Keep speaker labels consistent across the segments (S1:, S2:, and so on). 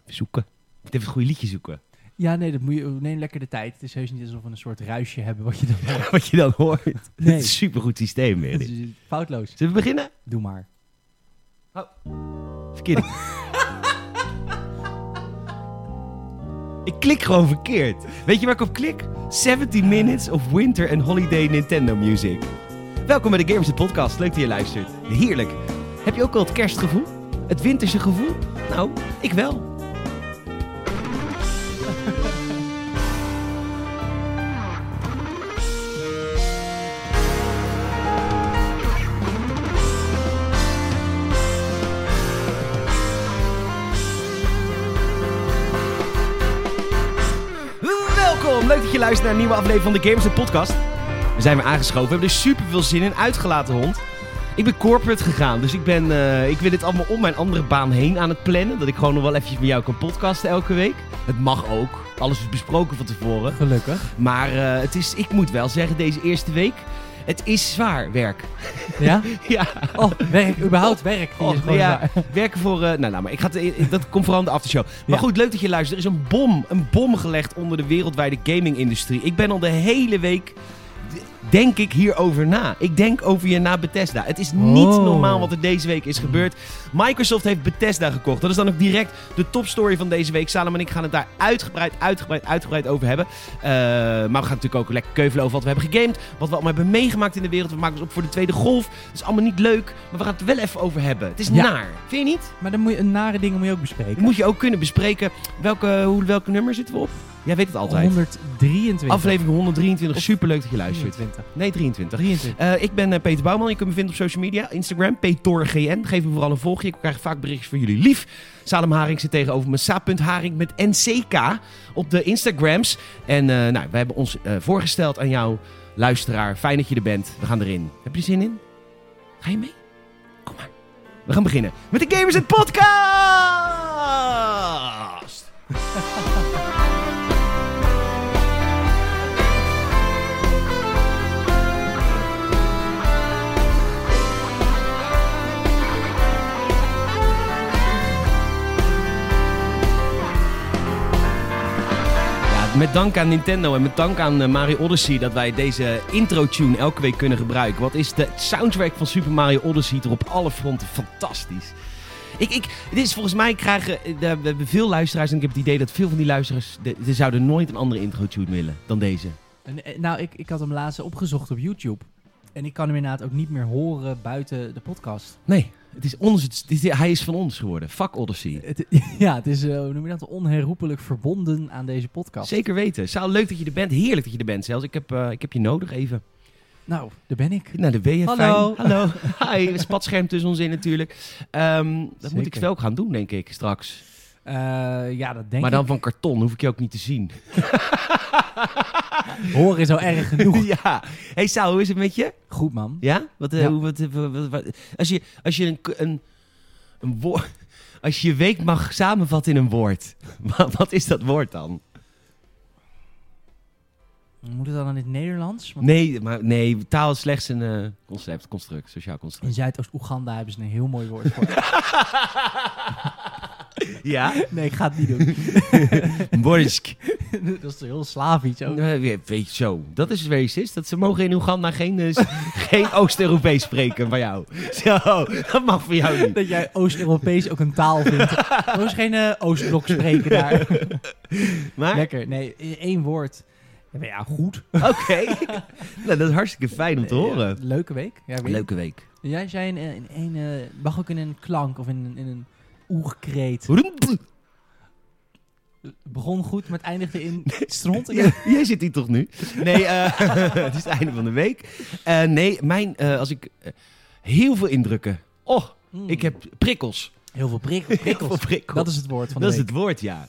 S1: Even zoeken. Moet even het goede liedje zoeken.
S2: Ja, nee, dat moet je, neem lekker de tijd. Het is heus niet alsof we een soort ruisje hebben wat je dan hoort.
S1: Wat je dan hoort. Het is
S2: Nee.
S1: een supergoed systeem weer.
S2: Het
S1: dit.
S2: is Foutloos.
S1: Zullen we beginnen?
S2: Doe maar.
S1: Verkeerd. ik klik gewoon verkeerd. Weet je waar ik op klik? 17 Minutes of Winter and Holiday Nintendo Music. Welkom bij de Games de Podcast. Leuk dat je luistert. Heerlijk. Heb je ook al het kerstgevoel? Het winterse gevoel? Nou, ik wel. Welkom. Leuk dat je luistert naar een nieuwe aflevering van de Games de Podcast. We zijn weer aangeschoven. We hebben er super veel zin in. Uitgelaten hond. Ik ben corporate gegaan, dus ik, ben, eh, ik wil dit allemaal om mijn andere baan heen aan het plannen. Dat ik gewoon nog wel eventjes met jou kan podcasten elke week. Het mag ook. Alles is besproken van tevoren.
S2: Gelukkig.
S1: Maar eh, het is, ik moet wel zeggen, deze eerste week, het is zwaar werk.
S2: Ja?
S1: ja,
S2: Oh, werk. Überhaupt werk. Die is
S1: Och,
S2: gewoon
S1: ja.
S2: Oh, ja.
S1: werken voor... eh, nou, nou, maar ik ga het- dat komt vooral in de aftershow. Maar
S2: Ja.
S1: goed, leuk dat je luistert. Er is een bom, een bom gelegd onder de wereldwijde gaming-industrie. Ik ben al de hele week, d- denk ik, hierover na. Ik denk over je na Bethesda. Het is niet
S2: Oh.
S1: normaal wat er deze week is gebeurd. Microsoft heeft Bethesda gekocht. Dat is dan ook direct de topstory van deze week. Salem en ik gaan het daar uitgebreid, uitgebreid, uitgebreid over hebben. Eh, maar we gaan natuurlijk ook lekker keuvelen over wat we hebben gegamed. Wat we allemaal hebben meegemaakt in de wereld. We maken ons op voor de tweede golf. Dat is allemaal niet leuk. Maar we gaan het er wel even over hebben. Het is
S2: Ja.
S1: naar. Vind je niet?
S2: Maar dan moet je, een nare dingen moet je ook
S1: Dat
S2: bespreken.
S1: moet je ook kunnen bespreken. Welke, hoe, welke nummer zitten we op? Jij weet het altijd.
S2: 123.
S1: Aflevering 123. Superleuk dat je luistert.
S2: 23.
S1: Nee, 23.
S2: 23.
S1: Eh, ik ben eh, Peter Bouwman. Je kunt me vinden op social media. Instagram, PetorGN. Geef me vooral een volgje. Ik krijg vaak berichtjes van jullie lief. Salem Haring zit tegenover me. Sa.Haring met NCK op de Instagrams. En eh, nou, we hebben ons eh, voorgesteld aan jou, luisteraar. Fijn dat je er bent. We gaan erin. Heb je er zin in? Ga je mee? Kom maar. We gaan beginnen met de Gamers in Podcast! Ja, met dank aan Nintendo en met dank aan eh, Mario Odyssey dat wij deze intro-tune elke week kunnen gebruiken. Wat is de soundtrack van Super Mario Odyssey er op alle fronten fantastisch. Ik, ik, dit is volgens mij krijgen eh, de- we hebben veel luisteraars en ik heb het idee dat veel van die luisteraars de, ze zouden nooit een andere intro-tune willen dan deze.
S2: En, eh, nou, ik, ik had hem laatst opgezocht op YouTube. En ik kan hem inderdaad ook niet meer horen buiten de podcast.
S1: Nee, het is ons, het is- hij is van ons geworden. Fuck Odyssey.
S2: Het, ja, het is, eh, hoe noem je dat, onherroepelijk verbonden aan deze podcast.
S1: Zeker weten. Saal, leuk dat je er bent. Heerlijk dat je er bent zelfs. Ik heb, eh, ik heb je nodig even.
S2: Nou, daar ben ik.
S1: Nou, de ben je
S2: Hallo.
S1: fijn. Hallo. Hi, een spatscherm tussen ons in natuurlijk. Ehm, dat moet ik
S2: Zeker.
S1: wel gaan doen, denk ik, straks.
S2: Eh, ja, dat denk
S1: maar dan
S2: ik.
S1: van karton, hoef ik je ook niet te zien.
S2: Horen is al erg genoeg.
S1: ja. Hey Saal, hoe is het met je?
S2: Goed, man.
S1: Ja? Wat, eh,
S2: Ja.
S1: hoe- wat, wat- wat- wat- als je, als je een, k- een, een woord... Als je je week mag samenvatten in een woord, wat, wat is dat woord dan?
S2: Moet het dan in het Nederlands? Want
S1: Nee, maar, nee taal is slechts een eh, concept, construct, sociaal construct.
S2: in Zuidoost-Oeganda hebben ze een heel mooi woord voor.
S1: ja?
S2: nee, ik ga het niet doen.
S1: Borsk.
S2: dat is toch heel slavisch ook.
S1: Nou, ja, Weet je zo, dat is racist. Dat ze mogen in Oeganda geen, eh, s- geen Oost-Europees spreken van jou. Zo, dat mag voor jou niet.
S2: Dat jij Oost-Europees ook een taal vindt. Er is geen eh, Oostblok spreken daar.
S1: Maar,
S2: Lekker. Nee, i- één woord. Ja, maar ja, goed.
S1: oké. nou, dat is hartstikke fijn om te horen.
S2: Eh, leuke week. Ja, weet-
S1: Leuke week.
S2: Jij zei in, eh, in één, eh, mag ook in een klank of in, een- in een oerkreet. Begon goed, maar het eindigde in stront.
S1: Ja, jij zit hier toch nu? Nee, eh, het is het einde van de week. Eh, nee, mijn, eh, als ik eh, heel veel indrukken. Oh,
S2: Mm.
S1: ik heb prikkels.
S2: heel veel prikkel- prikkels.
S1: Heel veel prikkels.
S2: Dat is het woord van
S1: Dat
S2: de
S1: is
S2: week.
S1: het woord, ja.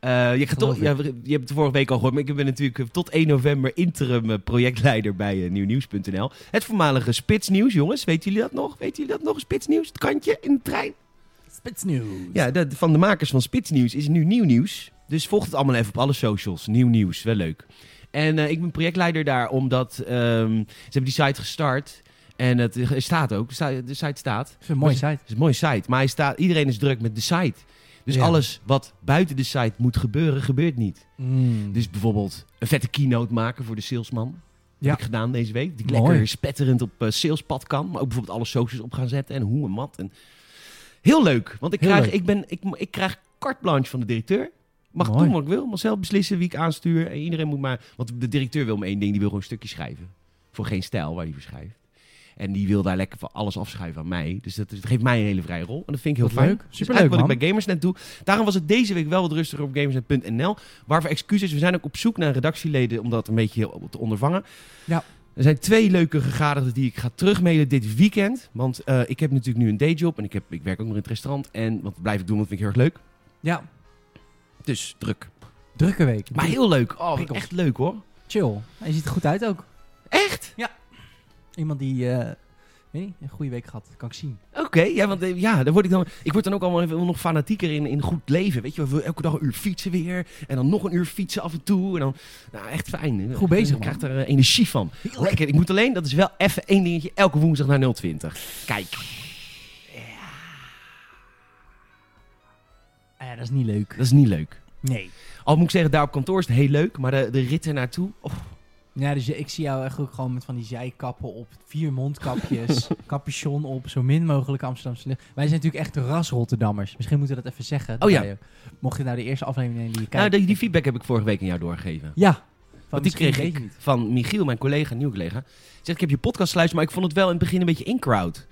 S1: Eh, je, gaat toch, ja,
S2: Geloof
S1: we- je hebt het vorige week al gehoord, maar ik ben natuurlijk eh, tot 1 november interim eh, projectleider bij eh, nieuwnieuws.nl. Het voormalige spitsnieuws, jongens. Weten jullie dat nog? Weten jullie dat nog? Spitsnieuws, het kantje in de trein.
S2: Spitsnieuws.
S1: Ja, dat, van de makers van Spitsnieuws is het nu nieuw nieuws. Dus volg het allemaal even op alle socials. Nieuw nieuws, wel leuk. En eh, ik ben projectleider daar omdat ehm, ze hebben die site gestart. En het eh, staat ook, de site staat.
S2: Dat is een mooie
S1: Maar
S2: site.
S1: Het is een mooie site, maar hij staat, iedereen is druk met de site. Dus
S2: Ja.
S1: alles wat buiten de site moet gebeuren, gebeurt niet.
S2: Mm.
S1: Dus bijvoorbeeld een vette keynote maken voor de salesman.
S2: Ja.
S1: Heb ik gedaan deze week. Die
S2: Mooi.
S1: lekker spetterend op eh, salespad kan. Maar ook bijvoorbeeld alle socials op gaan zetten en hoe en wat. En... Heel leuk. Want ik
S2: Heel
S1: krijg,
S2: leuk.
S1: ik, ben, ik, ik krijg carte blanche van de directeur. Mag
S2: Mooi.
S1: doen wat ik wil. Mag zelf beslissen wie ik aanstuur. En iedereen moet maar... Want de directeur wil maar één ding. Die wil gewoon een stukje schrijven. Voor geen stijl waar hij voor schrijft. En die wil daar lekker van alles afschrijven aan mij. Dus dat, is- dat geeft mij een hele vrije rol. En dat vind ik heel
S2: Wat
S1: fijn.
S2: leuk.
S1: Dus
S2: Superleuk,
S1: eigenlijk wat
S2: man.
S1: ik bij Gamersnet doe. Daarom was het deze week wel wat rustiger op gamersnet.nl. Waarvoor excuses. We zijn ook op zoek naar redactieleden om dat een beetje te ondervangen.
S2: Ja.
S1: Er zijn twee leuke gegadigden die ik ga terugmailen dit weekend. Want eh, ik heb natuurlijk nu een dayjob en ik, heb, ik werk ook nog in het restaurant. En wat blijf ik doen, want dat vind ik heel erg leuk.
S2: Ja,
S1: Dus druk.
S2: drukke week.
S1: Maar heel leuk. Oh,
S2: Prikkels.
S1: echt leuk hoor.
S2: Chill. Hij ziet er goed uit ook.
S1: Echt?
S2: Iemand die, eh, weet niet, een goede week gehad. Kan ik zien.
S1: Oké, ja, want eh, ja, dan word ik dan. Ik word dan ook allemaal even nog fanatieker in, in goed leven. Weet je, we willen elke dag een uur fietsen weer. En dan nog een uur fietsen af en toe. En dan, nou, echt fijn.
S2: Goed bezig,
S1: Ik
S2: man.
S1: krijg er eh, energie van. Lekker. Ik moet alleen, dat is wel even één dingetje, elke woensdag naar 020. Kijk.
S2: Ah ja, dat is niet leuk.
S1: Dat is niet leuk.
S2: Nee.
S1: Al moet ik zeggen, daar op kantoor is het heel leuk, maar de, de rit ernaartoe. Oh,
S2: Ja, dus ik zie jou echt ook gewoon met van die zijkappen op, vier mondkapjes, capuchon op, zo min mogelijk Amsterdamse lucht. Wij zijn natuurlijk echt ras Rotterdammers. Misschien moeten we dat even zeggen.
S1: Oh ja.
S2: Bij- Mocht je nou de eerste aflevering nemen die je
S1: nou,
S2: kijkt.
S1: die, die feedback heb ik vorige week aan jou doorgegeven.
S2: Ja. Van
S1: Want die
S2: misschien
S1: kreeg
S2: weet je
S1: ik
S2: niet.
S1: van Michiel, mijn collega, nieuwe collega. Zegt, ik heb je podcast geluisterd, maar ik vond het wel in het begin een beetje in-crowd.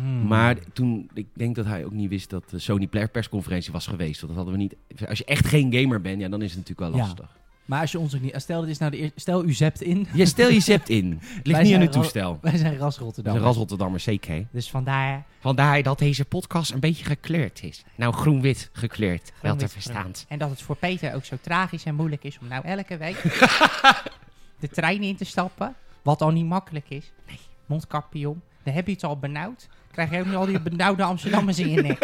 S2: Hmm.
S1: Maar toen, ik denk dat hij ook niet wist dat de Sony Player persconferentie was geweest. Want dat hadden we niet. Als je echt geen gamer bent, ja, dan is het natuurlijk wel
S2: Ja.
S1: lastig.
S2: Maar als je ons ook niet... Stel, dit is nou de eerste, stel u zept in.
S1: Je stel je zept in. Het ligt
S2: Wij
S1: niet aan
S2: zijn
S1: het
S2: ro-
S1: toestel.
S2: Wij zijn ras
S1: Dat is een
S2: Rotterdammers.
S1: ras Rotterdammer, zeker. hè?
S2: Dus vandaar...
S1: Vandaar dat deze podcast een beetje gekleurd is. Nou, groen-wit gekleurd, wel te
S3: Groen-wit
S1: verstaan.
S3: En dat het voor Peter ook zo tragisch en moeilijk is om nou elke week de trein in te stappen. Wat al niet makkelijk is. Nee, mondkapje om. Dan heb je het al benauwd. Krijg je ook nu al die benauwde Amsterdammers in je nek.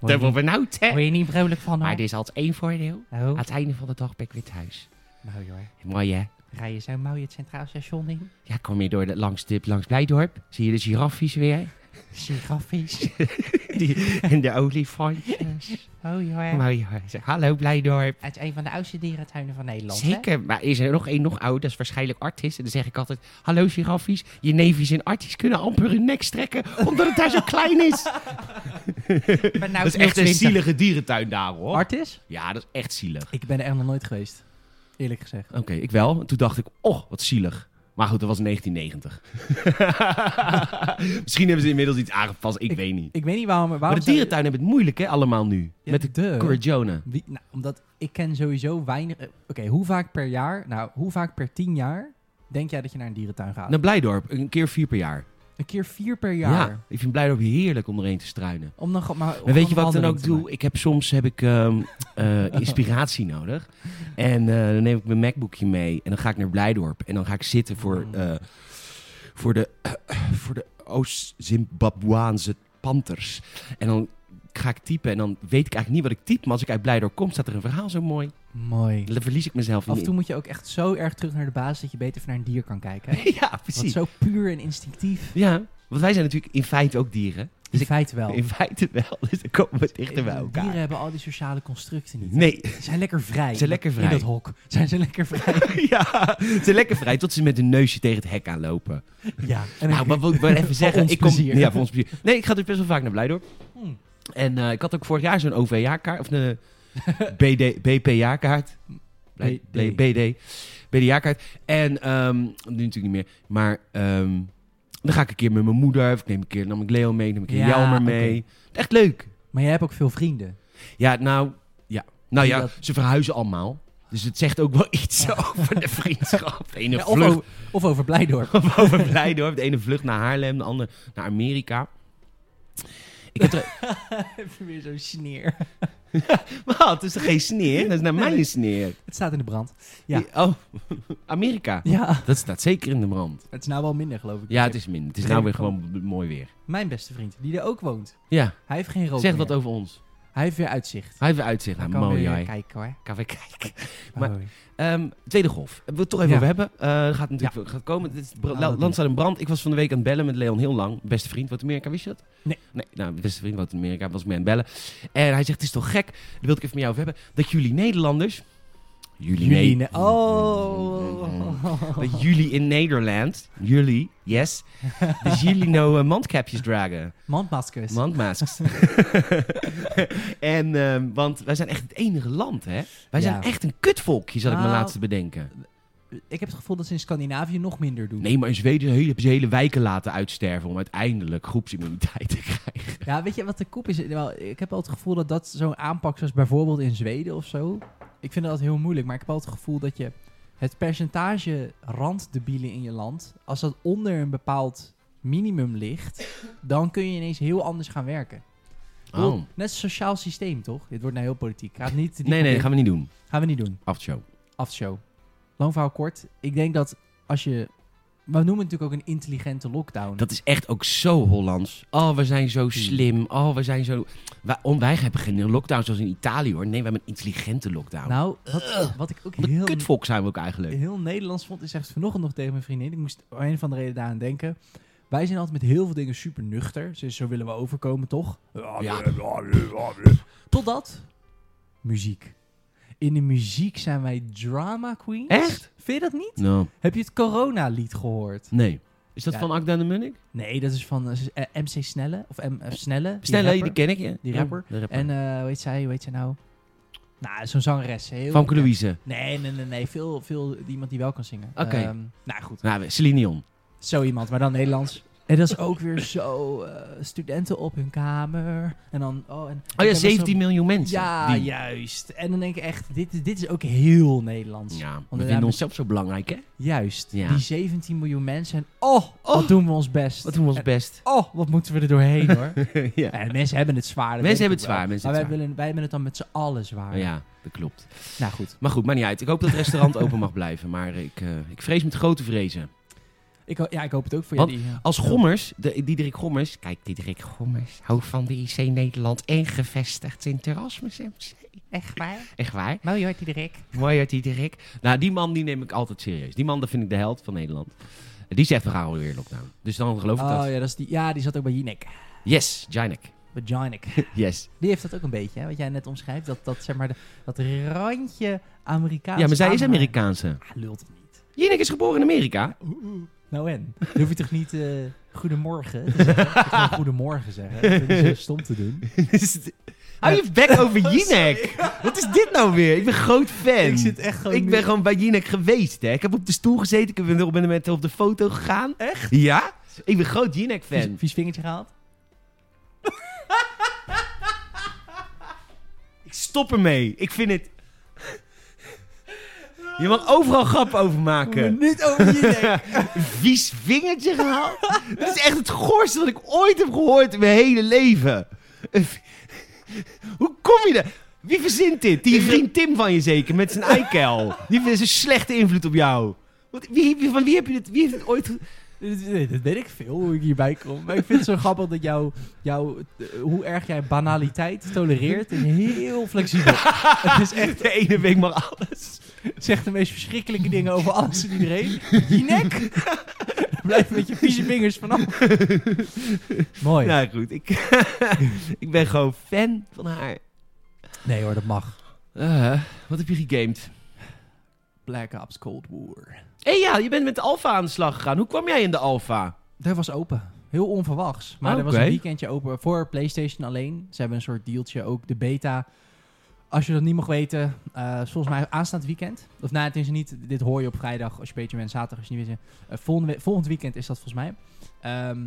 S1: Dubbel benauwd, nou, hè?
S3: Word je niet vrolijk van hoor.
S1: Maar er is altijd één voordeel.
S3: Oh,
S1: Aan het einde van de dag ben ik weer thuis.
S3: mooi hoor.
S1: Ah, Mooi hè?
S3: Rij je zo mooi het Centraal Station in.
S1: Ja, kom je door de, langs, de, langs Blijdorp. Zie je de giraffies weer.
S3: Giraffies.
S1: Die- en de olifantjes.
S3: Mooi hoor.
S1: Mooi hoor. Zeg, Hallo Blijdorp.
S3: Oh, Uit een van de oudste dierentuinen van Nederland. hè?
S1: Zeker, maar is er nog één nog oud, dat is waarschijnlijk Artis. En dan zeg ik altijd, hallo giraffies, je neefjes en Artis kunnen amper hun nek strekken, omdat het daar zo klein is.
S3: Benauwd
S1: dierentuin daar hoor.
S2: Artis?
S1: ja, dat is echt zielig.
S2: Ik ben er echt nog nooit geweest. Eerlijk gezegd.
S1: Oké, ik wel. En toen dacht ik, oh, wat zielig. Maar goed, dat was 1990. Misschien hebben ze inmiddels iets aangepast, ik, weet niet.
S2: Ik weet niet waarom... waarom
S1: Maar de
S2: zou-
S1: dierentuin hebben het moeilijk, hè, allemaal nu.
S2: Ja,
S1: Met de
S2: duh.
S1: Corrigione.
S2: Wie- nou, omdat ik ken sowieso weinig... eh, Oké, hoe vaak per jaar... Nou, hoe vaak per tien jaar denk jij dat je naar een dierentuin gaat?
S1: Naar Blijdorp, een keer vier per jaar.
S2: Een keer vier per jaar.
S1: ik vind Blijdorp heerlijk om erheen te struinen.
S2: Om dan gewoon maar... om
S1: Maar weet je
S2: gewoon
S1: wat ik dan
S2: wandeling
S1: ook
S2: te
S1: doe?
S2: maken.
S1: Ik heb soms heb ik, ehm, eh, inspiratie nodig. En eh, dan neem ik mijn MacBookje mee. En dan ga ik naar Blijdorp. En dan ga ik zitten voor,
S2: Mm.
S1: eh, voor de, voor de Oost-Zimbabwaanse panters. En dan ga ik typen. En dan weet ik eigenlijk niet wat ik typ. Maar als ik uit Blijdorp kom, staat er een verhaal zo mooi.
S2: Mooi.
S1: Dan verlies ik mezelf
S2: Af en
S1: niet.
S2: toe moet je ook echt zo erg terug naar de basis dat je beter even naar een dier kan kijken. Hè?
S1: ja,
S2: Want
S1: precies.
S2: zo puur en instinctief.
S1: Ja, want wij zijn natuurlijk in feite ook dieren.
S2: In
S1: Dus ik-
S2: feite wel. Eh,
S1: In feite wel. Dus dan komen we dichter bij
S2: Dieren
S1: elkaar.
S2: hebben al die sociale constructen niet.
S1: Nee,
S2: Ze zijn lekker vrij.
S1: Ze zijn lekker
S2: In
S1: vrij.
S2: dat hok. Zijn ze lekker vrij.
S1: ja, ze zijn lekker vrij tot ze met hun neusje tegen het hek aanlopen.
S2: ja. En
S1: Nou, maar wil ik maar even zeggen.
S2: ons
S1: ik kom,
S2: plezier.
S1: Ja, voor ons plezier. Nee, ik ga dus best wel vaak naar Blijdorp.
S2: Hmm.
S1: En eh, ik had ook vorig jaar zo'n OVA-kaart. Of een eh, BD, BPA-kaart. Blij-
S2: BD.
S1: blij- BD. BDA-kaart. En ehm, nu natuurlijk niet meer. Maar ehm, dan ga ik een keer met mijn moeder. Of ik neem een keer, nam ik Leo mee. Neem ik een
S2: Ja,
S1: Jelmer
S2: oké.
S1: mee. Echt leuk.
S2: maar jij hebt ook veel vrienden.
S1: Ja, nou ja. Nou
S2: Die
S1: ja,
S2: dat-
S1: ze verhuizen allemaal. Dus het zegt ook wel iets over de vriendschap. De ene
S2: Ja, Eh, of,
S1: vlucht
S2: over, of over Blijdorp.
S1: of over Blijdorp. De ene vlucht naar Haarlem, de andere naar Amerika. Ik heb er...
S2: Even weer zo'n sneer.
S1: Wat? Het is er geen sneer? Dat is naar mij een sneer.
S2: Het staat in de brand. Ja.
S1: Die- Oh, Amerika.
S2: Ja.
S1: Dat staat zeker in de brand.
S2: Het is nou wel minder, geloof ik.
S1: Ja, het is minder. Het is nou weer gewoon b- mooi weer.
S2: Mijn beste vriend, die er ook woont.
S1: Ja,
S2: Hij heeft geen rook
S1: zeg
S2: meer.
S1: wat over ons.
S2: Hij heeft weer uitzicht.
S1: Hij heeft weer uitzicht.
S3: Dan
S1: Nou,
S3: kan
S1: mooi,
S3: weer
S1: jij.
S3: kijken hoor.
S1: Kan weer kijken.
S2: Maar,
S1: Maar- Ehm, tweede golf. We het toch even
S2: Ja.
S1: over hebben. Eh, gaat natuurlijk gaat komen. Dit is br-
S2: Ah,
S1: la-
S2: wat
S1: land staat in brand. Ik was van de week aan het bellen met Leon heel lang. Beste vriend wat Amerika, wist je dat?
S2: Nee.
S1: Nee, nou, beste vriend wat Amerika was mee aan het bellen. En hij zegt, het is toch gek, daar wil ik even met jou over hebben, dat jullie Nederlanders... Jullie,
S2: jullie...
S1: Ne-
S2: ne- Oh.
S1: Dat jullie in Nederland, jullie, yes, dat jullie nou eh, mandkapjes dragen.
S2: Mandmaskers.
S1: Mandmasks. en, ehm, want wij zijn echt het enige land, hè? Wij
S2: Ja.
S1: zijn echt een kutvolkje, zal ik me
S2: Nou,
S1: laatste bedenken.
S2: Ik heb het gevoel dat ze in Scandinavië nog minder doen.
S1: Nee, maar in Zweden hele- hebben ze hele wijken laten uitsterven om uiteindelijk groepsimmuniteit te krijgen.
S2: Ja, weet je wat de koep is? Wel, ik heb wel het gevoel dat dat zo'n aanpak zoals bijvoorbeeld in Zweden of zo. Ik vind dat heel moeilijk, maar ik heb wel het gevoel dat je het percentage randdebielen in je land, als dat onder een bepaald minimum ligt, dan kun je ineens heel anders gaan werken. Ik
S1: Oh.
S2: bedoel, Net een sociaal systeem, toch? Dit wordt nou heel politiek. Gaat niet.
S1: Nee, nee, dat gaan
S2: gaan
S1: we niet doen.
S2: we... gaan we niet doen.
S1: Aftershow.
S2: Afshow. Lang verhaal kort. Ik denk dat als je. Maar we noemen het natuurlijk ook een intelligente lockdown.
S1: Dat is echt ook zo Hollands. Oh, we zijn zo slim. Oh, we zijn zo... Wij, om, wij hebben geen lockdown zoals in Italië, hoor. Nee, we hebben een intelligente lockdown.
S2: Nou, wat, wat ik ook
S1: Wat een
S2: heel
S1: kutvolk zijn we ook eigenlijk.
S2: heel Nederlands vond, is echt vanochtend nog tegen mijn vriendin. Ik moest om een van de reden daaraan denken. Wij zijn altijd met heel veel dingen super nuchter. Dus zo willen we overkomen, toch?
S1: Ja.
S2: Totdat muziek. In de muziek zijn wij drama queens.
S1: Echt?
S2: Vind je dat niet?
S1: Nou,
S2: Heb je het corona-lied gehoord?
S1: nee. Is dat
S2: Ja.
S1: van Akda en de Munnik?
S2: Nee, dat is van eh, MC Snelle. Of M, eh, Snelle. die
S1: Snelle, die,
S2: rapper.
S1: ken ik. hè?
S2: Die
S1: Ja,
S2: rapper.
S1: de rapper.
S2: En eh, hoe heet zij? Hoe heet zij nou? Nou, zo'n zangeres. Heel
S1: Famke Louise.
S2: Nee, nee, nee. nee. Veel, veel iemand die wel kan zingen.
S1: Oké.
S2: Ehm, nou goed.
S1: Nou, Celine Dion.
S2: Zo iemand, maar dan Nederlands. En dat is ook weer zo, eh, studenten op hun kamer. En dan, oh, en
S1: Oh
S2: ik
S1: ja,
S2: heb
S1: 17 miljoen
S2: eens
S1: mensen.
S2: zo'n- Ja,
S1: Die-
S2: juist. En dan denk ik echt, dit, is- dit is ook heel Nederlands.
S1: Ja, we
S2: daarna
S1: vinden
S2: met-
S1: onszelf zo belangrijk, hè?
S2: Juist.
S1: Ja.
S2: Die 17 miljoen mensen. En oh,
S1: Oh.
S2: wat doen we ons best.
S1: Wat doen we ons
S2: En-
S1: best.
S2: Oh, wat moeten we er doorheen hoor.
S1: ja.
S2: En mensen hebben het zwaar.
S1: Mensen
S2: dat
S1: hebben
S2: weet ik
S1: het
S2: ook wel.
S1: zwaar, mensen
S2: maar
S1: hebben
S2: wij,
S1: het
S2: Willen, wij hebben het dan met z'n allen zwaar.
S1: Oh Ja, dat klopt.
S2: Nou goed.
S1: Maar goed, maakt niet uit. Ik hoop dat het restaurant open mag blijven, maar ik, eh, ik vrees met grote vrezen.
S2: Ik, ho- ja, ik hoop het ook voor
S1: Want
S2: jullie. ja.
S1: Als Gommers, de, Diederik Gommers... Kijk, Diederik Gommers, hoofd van de IC Nederland en gevestigd in Terrasmus MC.
S3: Echt waar?
S1: Echt waar?
S3: Mooi hoor, Diederik.
S2: Oh,
S1: Mooi hoor, Diederik. Nou, die man die neem ik altijd serieus. Die man, dat vind ik de held van Nederland. Die zegt, we gaan alweer in lockdown. Dus dan geloof ik
S2: Oh
S1: dat.
S2: ja, dat is die, ja, die zat ook bij Jinek.
S1: Yes, Janek.
S2: Bij Jinek.
S1: Yes.
S2: Die heeft dat ook een beetje, hè, wat jij net omschrijft. Dat, dat, zeg maar, de- dat randje Amerikaans.
S1: Ja, maar zij is
S2: aanhaken.
S1: Amerikaanse.
S2: Ah, lult het niet.
S1: Jinek is geboren in Amerika.
S2: Nou en? Dan hoef je toch niet eh, goedemorgen te zeggen? Je kunt gewoon goedemorgen zeggen. Dat is heel stom te doen.
S1: Hou je bek over Jinek. Wat is dit nou weer? Ik ben groot fan.
S2: Oh, Ik zit echt gewoon
S1: Ik
S2: nu-
S1: ben gewoon bij Jinek geweest, hè. Ik heb op de stoel gezeten. Ik ben- ben met haar op de foto gegaan. Echt? Dus Ja. Ik ben groot
S2: Vies,
S1: Jinek-fan.
S2: vies vingertje gehaald.
S1: Ik stop ermee. Ik vind het... Je mag overal grappen over maken.
S2: Niet over Jinek.
S1: Vies vingertje gehaald? Dat is echt het goorste wat ik ooit heb gehoord in mijn hele leven. Een vi- Hoe kom je daar? Wie verzint dit? Die vriend Tim van je zeker, met zijn eikel. Die heeft een slechte invloed op jou. Wat, wie, wie- van wie heb je dit, wie heeft dit ooit... ge-
S2: Nee, dat weet ik veel hoe ik hierbij kom. Maar ik vind het zo grappig dat jouw, jouw, eh, hoe erg jij banaliteit tolereert, is heel flexibel. Het is echt,
S1: De ene week mag alles.
S2: zegt de meest verschrikkelijke dingen over alles en iedereen. Jinek! Blijf met je vieze vingers vanaf. Mooi.
S1: Nou goed, ik, ik ben gewoon fan van haar.
S2: Nee hoor, dat mag.
S1: Eh, wat heb je gegamed?
S2: Black Ops Cold War.
S1: Hé ja, je bent met de alfa aan de slag gegaan. Hoe kwam jij in de alfa?
S2: Dat was open. Heel onverwachts. Maar
S1: Oh,
S2: er was
S1: oké.
S2: een weekendje open voor PlayStation alleen. Ze hebben een soort dealtje ook. De beta. Als je dat niet mag weten, eh, is volgens mij aanstaand weekend. Of nou, het is niet. Dit hoor je op vrijdag als je beetje bent. Zaterdag als je niet weet. Eh, volgende, we- volgend weekend is dat volgens mij. Ehm,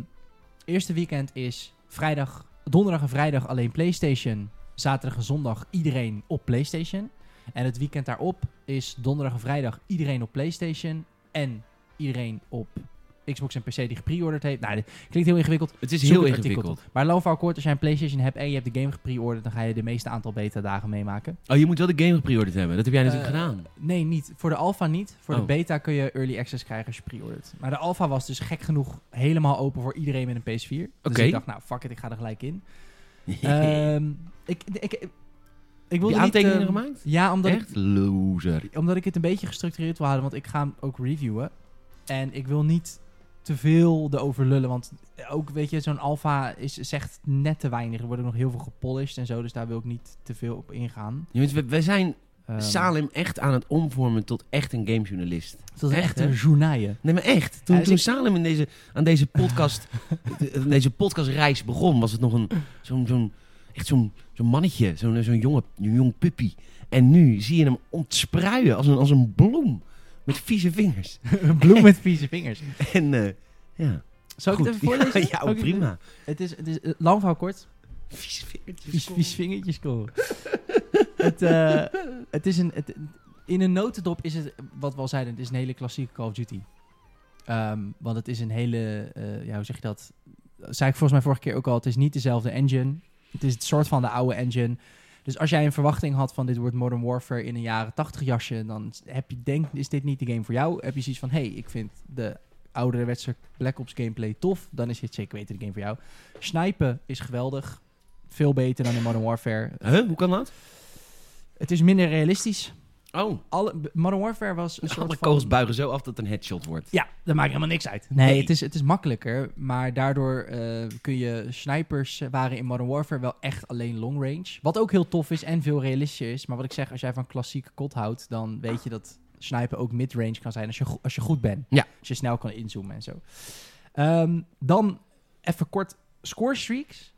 S2: eerste weekend is vrijdag, donderdag en vrijdag alleen PlayStation. Zaterdag en zondag iedereen op PlayStation. En het weekend daarop is donderdag en vrijdag iedereen op PlayStation. En iedereen op Xbox en PC die gepreorderd heeft. Nou, dit klinkt heel ingewikkeld.
S1: Het is
S2: Zoek
S1: heel
S2: het artikel
S1: ingewikkeld.
S2: Maar lang verhaal kort, als jij een PlayStation hebt en je hebt de game gepreorderd, dan ga je de meeste aantal beta dagen meemaken.
S1: Oh, je moet wel de game geprioriteit hebben. Dat heb jij natuurlijk
S2: Eh,
S1: gedaan.
S2: Nee, niet. Voor de alpha niet. Voor de
S1: Oh.
S2: beta kun je early access krijgen als je pre-ordert. Maar de alpha was dus gek genoeg helemaal open voor iedereen met een PS4. Dus
S1: Oké.
S2: ik dacht, nou fuck it, ik ga er gelijk in.
S1: Eh,
S2: Ehm, ik, ik, ik, ik wilde
S1: die
S2: niet,
S1: aantekeningen
S2: ehm,
S1: gemaakt?
S2: Ja, omdat ik,
S1: Echt loser.
S2: omdat ik het een beetje gestructureerd wil houden, want ik ga hem ook reviewen. En ik wil niet te veel erover lullen, want ook, weet je, zo'n alfa is, zegt net te weinig. Er wordt ook nog heel veel gepolished en zo, dus daar wil ik niet te veel op ingaan.
S1: Ja, want we, we zijn
S2: Ehm,
S1: Salem echt aan het omvormen tot echt een gamejournalist.
S2: Dat is
S1: Echt,
S2: echt
S1: hè?
S2: een journaille.
S1: Nee, maar echt.
S2: Ja,
S1: Toen,
S2: dus
S1: toen
S2: ik-
S1: Salem in deze, aan deze, podcast, de- aan deze podcastreis begon, was het nog een, zo'n, zo'n, echt zo'n, zo'n mannetje, zo'n, zo'n jonge, een jong puppy. En nu zie je hem ontspruien als een, als een bloem met vieze vingers.
S3: Een bloem met vieze vingers.
S1: En eh, ja,
S2: Zal ik
S1: goed.
S2: het even voorlezen?
S1: Ja,
S2: Zal ik het-
S1: prima.
S2: Het is, het is eh, lang verhaal kort.
S1: Vieze
S2: Vies,
S1: vingertjes.
S2: vies vingertjes komen. het, eh, het is een, het, in een notendop is het, wat we al zeiden, het is een hele klassieke Call of Duty. Ehm, want het is een hele, eh, ja, hoe zeg je dat? Dat Zei ik volgens mij vorige keer ook al, het is niet dezelfde engine. Het is het soort van de oude engine. Dus als jij een verwachting had van dit wordt Modern Warfare in een jaren 80 jasje, dan heb je denk, is dit niet de game voor jou? Heb je zoiets van, hey, ik vind de oudere wedstrijd Black Ops gameplay tof, dan is dit zeker weten de game voor jou. Snipen is geweldig. Veel beter dan in Modern Warfare.
S1: Huh, hoe kan dat?
S2: Het is minder realistisch.
S1: Oh,
S2: Alle, Modern Warfare was een soort
S1: alle
S2: van...
S1: kogels buigen zo af dat het een headshot wordt.
S2: Ja, dat maakt helemaal niks uit. Nee, Het, is, het is makkelijker, maar daardoor eh, kun je... Snipers waren in Modern Warfare wel echt alleen long range. Wat ook heel tof is en veel realistischer is. Maar wat ik zeg, als jij van klassieke kot houdt, dan weet je dat snipen ook mid-range kan zijn als je, go- als je goed bent.
S1: Ja.
S2: Als je snel kan inzoomen en zo. Ehm, dan even kort score streaks.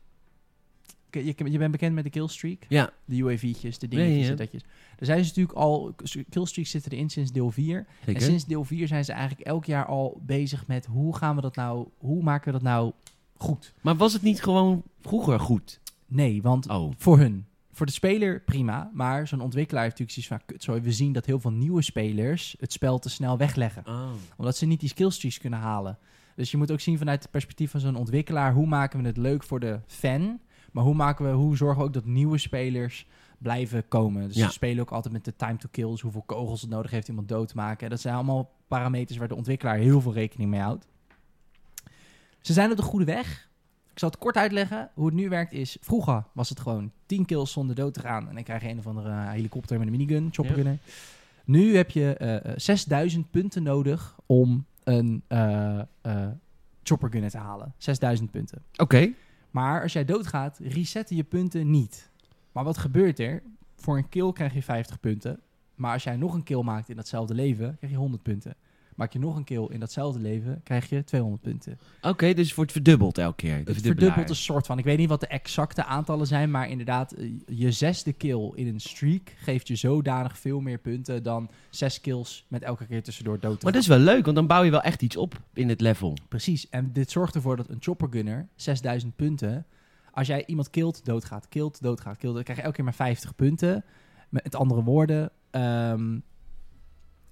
S2: Je, je, je bent bekend met de killstreak.
S1: Ja,
S2: De UAV'tjes, E de dingetjes,
S1: Ja, ja.
S2: en datjes. Er zijn ze natuurlijk al, killstreaks zitten erin sinds deel 4. En
S1: zeker.
S2: sinds deel 4 zijn ze eigenlijk elk jaar al bezig met hoe gaan we dat nou, hoe maken we dat nou goed?
S1: Maar was het niet gewoon vroeger goed?
S2: Nee, want
S1: Oh,
S2: voor hun. Voor de speler prima, maar zo'n ontwikkelaar heeft natuurlijk zoiets van, kut, sorry, we zien dat heel veel nieuwe spelers het spel te snel wegleggen.
S1: oh.
S2: Omdat ze niet die skillstreaks kunnen halen. Dus je moet ook zien vanuit het perspectief van zo'n ontwikkelaar, hoe maken we het leuk voor de fan, maar hoe, maken we, hoe zorgen we ook dat nieuwe spelers blijven komen. Dus
S1: Ja.
S2: ze spelen ook altijd met de time to kill, dus hoeveel kogels het nodig heeft iemand dood te maken. Dat zijn allemaal parameters waar de ontwikkelaar heel veel rekening mee houdt. Ze zijn op de goede weg. Ik zal het kort uitleggen. Hoe het nu werkt is, vroeger was het gewoon 10 kills zonder dood te gaan. En dan krijg je een of andere eh, helikopter met een minigun, choppergunner. Nu heb je eh, eh, 6000 punten nodig om een eh eh, choppergunner te halen. 6000 punten.
S1: Oké.
S2: Maar als jij doodgaat, resetten je punten niet. Maar wat gebeurt er? Voor een kill krijg je 50 punten. Maar als jij nog een kill maakt in datzelfde leven, krijg je 100 punten. Maak je nog een kill in datzelfde leven, krijg je 200 punten.
S1: Oké, dus het wordt verdubbeld elke keer. De
S2: Het
S1: verdubbelaar.
S2: verdubbelt een soort van. Ik weet niet wat de exacte aantallen zijn, maar inderdaad, eh, je zesde kill in een streak geeft je zodanig veel meer punten dan zes kills met elke keer tussendoor dood te
S1: Maar dat is wel leuk, want dan bouw je wel echt iets op in het level.
S2: Precies. En dit zorgt ervoor dat een choppergunner 6000 punten. Als jij iemand kilt, doodgaat, kilt, doodgaat, kilt, dan krijg je elke keer maar 50 punten. Met andere woorden, ehm,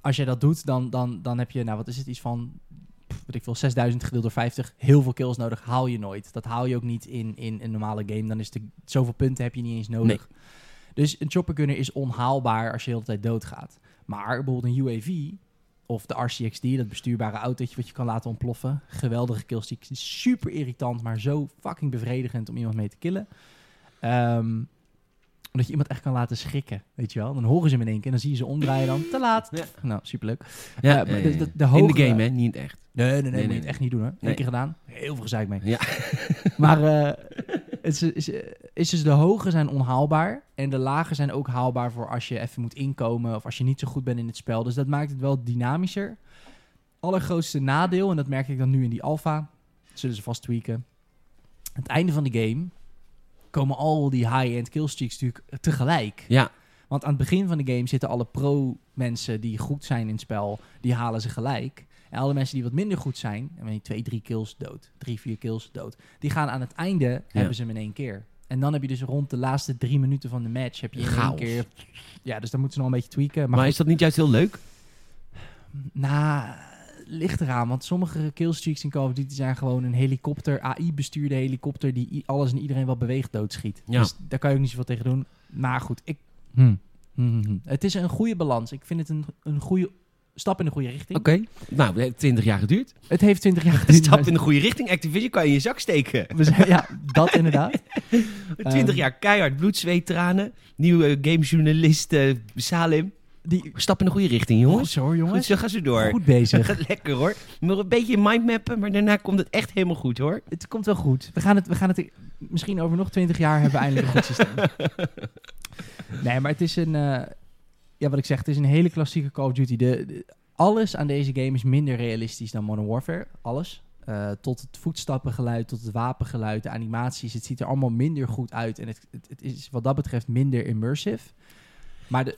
S2: als jij dat doet, dan, dan, dan heb je, nou wat is het, iets van, pff, weet ik veel, 6000 gedeeld door 50. Heel veel kills nodig, haal je nooit. Dat haal je ook niet in, in een normale game. Dan is de, zoveel punten heb je niet eens nodig. Dus een choppergunner is onhaalbaar als je de hele tijd doodgaat. Maar bijvoorbeeld een UAV, of de RCXD, dat bestuurbare autootje wat je kan laten ontploffen. Geweldige killstreak. Super irritant, maar zo fucking bevredigend om iemand mee te killen. Ehm, omdat je iemand echt kan laten schrikken, weet je wel. Dan horen ze hem in één keer en dan zie je ze omdraaien dan. Te laat.
S1: Ja.
S2: Nou, superleuk.
S1: Ja,
S2: maar
S1: ja,
S2: de-
S1: ja, ja.
S2: de- de hogere-
S1: In de game, hè? Niet in het echt.
S2: Nee, nee,
S1: nee,
S2: nee, moet je
S1: nee.
S2: het echt niet doen hoor. Eén
S1: Nee.
S2: keer gedaan, heel veel gezeik mee.
S1: Ja.
S2: maar eh, het is, is, is dus de hoge zijn onhaalbaar en de lage zijn ook haalbaar voor als je even moet inkomen of als je niet zo goed bent in het spel. Dus dat maakt het wel dynamischer. Allergrootste nadeel, en dat merk ik dan nu in die alfa, zullen ze vast tweaken. Aan het einde van de game komen al die high-end killstreaks natuurlijk tegelijk.
S1: Ja,
S2: Want aan het begin van de game zitten alle pro-mensen die goed zijn in het spel, die halen ze gelijk. En alle mensen die wat minder goed zijn, en weet je, twee, drie kills dood, drie, vier kills dood, die gaan aan het einde, hebben ze hem in één keer. En dan heb je dus rond de laatste drie minuten van de match, heb je in één
S1: Chaos.
S2: keer... Ja, dus dan moeten ze nog een beetje tweaken.
S1: maar,
S2: Maar,
S1: is dat niet juist heel leuk?
S2: goed, nou, ligt eraan, want sommige killstreaks in Call of Duty zijn gewoon een helikopter, AI-bestuurde helikopter, die i- alles en iedereen wat beweegt doodschiet.
S1: Ja.
S2: Dus daar kan je ook niet zoveel tegen doen. Maar goed, ik... Hmm. Hmm, hmm, hmm. Het is een goede balans. Ik vind het een, een goede stap in de goede richting.
S1: Nou, het heeft 20 jaar geduurd.
S2: Het heeft 20 jaar
S1: De
S2: geduurd.
S1: stap in de goede richting. Activision kan je in je zak steken.
S2: We zijn- ja, dat inderdaad.
S1: 20
S2: Ehm.
S1: jaar keihard bloed, zweet, tranen. Nieuwe gamejournalist eh, Salim.
S2: Die,
S1: Stap in de goede richting, jongens.
S2: goed zo,
S1: Goed,
S2: jongens.
S1: zo gaan ze door.
S2: Goed bezig.
S1: Gaat lekker hoor. Nog een beetje mindmappen, maar daarna komt het echt helemaal goed hoor.
S2: Het komt wel goed. We gaan het, we gaan het misschien over nog 20 jaar hebben we eindelijk een goed systeem. Nee, maar het is een... eh, ja, wat ik zeg, het is een hele klassieke Call of Duty. De, de- alles aan deze game is minder realistisch dan Modern Warfare. Alles. Eh, tot het voetstappengeluid, tot het wapengeluid, de animaties. Het ziet er allemaal minder goed uit. En het, het, het is wat dat betreft minder immersive. Maar de...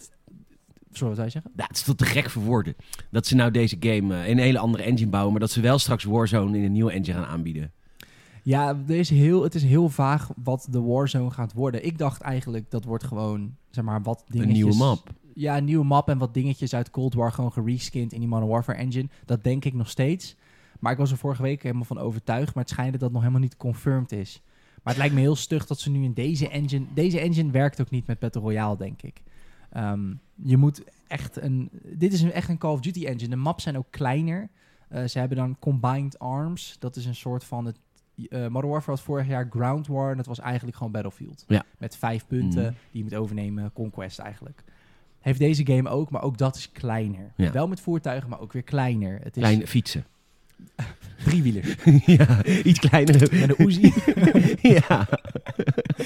S2: Sorry, wat zou je zeggen?
S1: Nou, het is tot te gek voor woorden. Dat ze nou deze game eh, in een hele andere engine bouwen, maar dat ze wel straks Warzone in een nieuwe engine gaan aanbieden.
S2: Ja, er is heel, het is heel vaag wat de Warzone gaat worden. Ik dacht eigenlijk dat wordt gewoon, zeg maar, wat dingetjes...
S1: Een nieuwe map.
S2: Ja, een nieuwe map en wat dingetjes uit Cold War gewoon gereskind in die Modern Warfare engine. Dat denk ik nog steeds. Maar ik was er vorige week helemaal van overtuigd. Maar het schijnt dat dat nog helemaal niet confirmed is. Maar het lijkt me heel stug dat ze nu in deze engine... Deze engine werkt ook niet met Battle Royale, denk ik. Ehm, je moet echt een... Dit is een, echt een Call of Duty engine. De maps zijn ook kleiner. Eh, ze hebben dan Combined Arms. Dat is een soort van... Het, eh, Modern Warfare was vorig jaar Ground War. En dat was eigenlijk gewoon Battlefield.
S1: Ja.
S2: Met vijf punten
S1: Mhm.
S2: die je moet overnemen. Conquest eigenlijk. Heeft deze game ook, maar ook dat is kleiner.
S1: Ja.
S2: Wel met voertuigen, maar ook weer kleiner. Het is
S1: Kleine fietsen.
S2: driewielers.
S1: ja, iets kleiner.
S2: Met een Uzi,
S1: ja.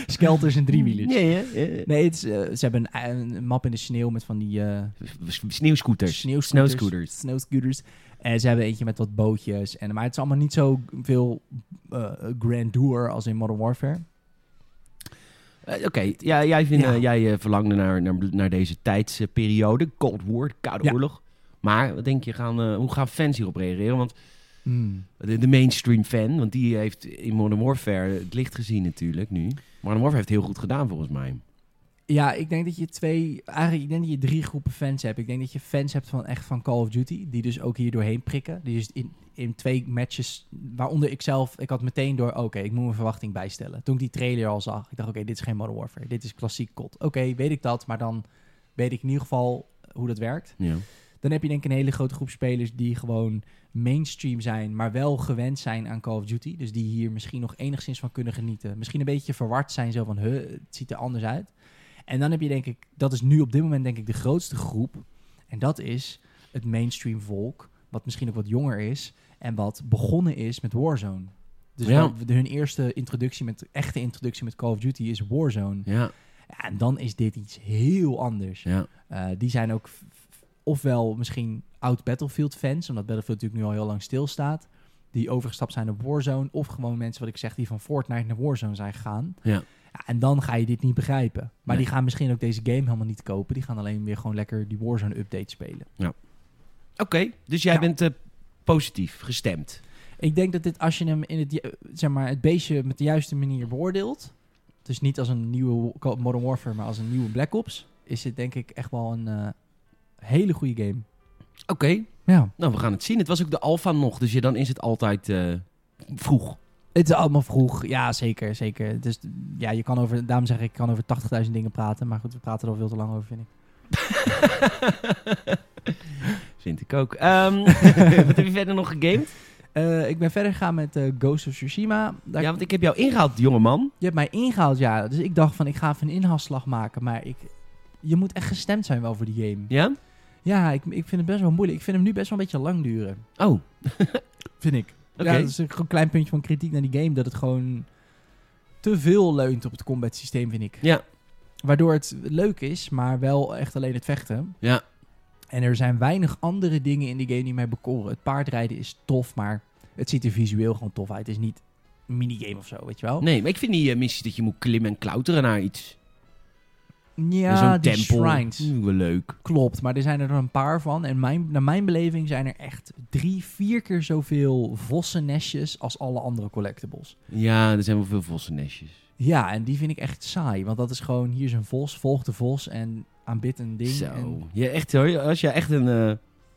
S2: skelters en driewielers.
S1: Nee, hè? Ja, ja.
S2: Nee, het is, eh, ze hebben een, een map in de sneeuw met van die eh,
S1: S- Sneeuwscooters.
S2: Sneeuwscooters.
S1: Snowscooters.
S2: Snowscooters. En ze hebben eentje met wat bootjes. En, maar het is allemaal niet zo veel eh, grandeur als in Modern Warfare.
S1: Eh, Oké, ja, jij, vindt,
S2: Ja.
S1: eh, jij eh, verlangde naar, naar, naar deze tijdsperiode. Cold War, Koude
S2: Ja.
S1: Oorlog. Maar wat denk je, gaan, eh, hoe gaan fans hierop reageren? Want
S2: Hmm.
S1: de, de mainstream fan, want die heeft in Modern Warfare het licht gezien natuurlijk nu. Modern Warfare heeft heel goed gedaan volgens mij.
S2: Ja, ik denk dat je twee, eigenlijk ik denk dat je drie groepen fans hebt. Ik denk dat je fans hebt van echt van Call of Duty, die dus ook hier doorheen prikken. Die dus in, in twee matches, waaronder ik zelf, ik had meteen door, oké, ik moet mijn verwachting bijstellen. Toen ik die trailer al zag, ik dacht, oké, dit is geen Modern Warfare, dit is klassiek COD. Oké, weet ik dat, maar dan weet ik in ieder geval hoe dat werkt.
S1: Ja.
S2: Dan heb je denk ik een hele grote groep spelers die gewoon mainstream zijn, maar wel gewend zijn aan Call of Duty. Dus die hier misschien nog enigszins van kunnen genieten. Misschien een beetje verward zijn, zo van, huh, het ziet er anders uit. En dan heb je denk ik, dat is nu op dit moment denk ik de grootste groep. En dat is het mainstream volk, wat misschien ook wat jonger is en wat begonnen is met Warzone. Dus
S1: Ja.
S2: wat- hun eerste introductie met, echte introductie met Call of Duty is Warzone.
S1: Ja,
S2: Ja, en dan is dit iets heel anders.
S1: ja.
S2: Eh, die zijn ook f- f- ofwel misschien oud Battlefield fans, omdat Battlefield natuurlijk nu al heel lang stilstaat. Die overgestapt zijn op Warzone. Of gewoon mensen, wat ik zeg, die van Fortnite naar Warzone zijn gegaan.
S1: Ja.
S2: en dan ga je dit niet begrijpen. Maar
S1: Nee.
S2: die gaan misschien ook deze game helemaal niet kopen. Die gaan alleen weer gewoon lekker die Warzone update spelen.
S1: Oké, dus jij
S2: Ja.
S1: bent eh, positief gestemd.
S2: Ik denk dat dit, als je hem in het, ju- eh, zeg maar, het beestje met de juiste manier beoordeelt. Dus niet als een nieuwe Wa- Modern Warfare, maar als een nieuwe Black Ops. Is dit denk ik echt wel een eh, hele goede game.
S1: Oké,
S2: Ja.
S1: nou we gaan het zien. Het was ook de alfa nog, dus je, dan is het altijd eh, vroeg.
S2: Het is allemaal vroeg, ja zeker, zeker. Dus ja, je kan over, daarom zeg ik, ik kan over 80.000 dingen praten. Maar goed, we praten er al veel te lang over, vind ik.
S1: Vind ik ook. Ehm, wat heb je verder nog gegamed?
S2: Eh, ik ben verder gegaan met eh, Ghost of Tsushima. Daar,
S1: Ja, want ik heb jou ingehaald, jongeman.
S2: Je hebt mij ingehaald, ja. Dus ik dacht van, ik ga even een inhaalslag maken. Maar ik, je moet echt gestemd zijn wel voor die game.
S1: Ja?
S2: Ja, ik, ik vind het best wel moeilijk. Ik vind hem nu best wel een beetje lang duren.
S1: Oh,
S2: Vind ik.
S1: Oké.
S2: Ja, dat is een gewoon klein puntje van kritiek naar die game. Dat het gewoon te veel leunt op het combat systeem, vind ik.
S1: Ja.
S2: Waardoor het leuk is, maar wel echt alleen het vechten.
S1: Ja.
S2: En er zijn weinig andere dingen in die game die mij bekoren. Het paardrijden is tof, maar het ziet er visueel gewoon tof uit. Het is niet een minigame of zo, weet je wel?
S1: nee, maar ik vind die eh, missie dat je moet klimmen en klauteren naar iets.
S2: Ja,
S1: Zo'n
S2: die
S1: tempel.
S2: shrines.
S1: Oeh, wel leuk.
S2: Klopt, maar er zijn er een paar van. En mijn, naar mijn beleving zijn er echt drie, vier keer zoveel vossennestjes als alle andere collectibles.
S1: Ja, er zijn wel veel vossennestjes.
S2: Ja, en die vind ik echt saai. Want dat is gewoon, hier is een vos, volg de vos en aanbid een ding. En,
S1: Zo. Ja, echt hoor. Als je echt een, eh,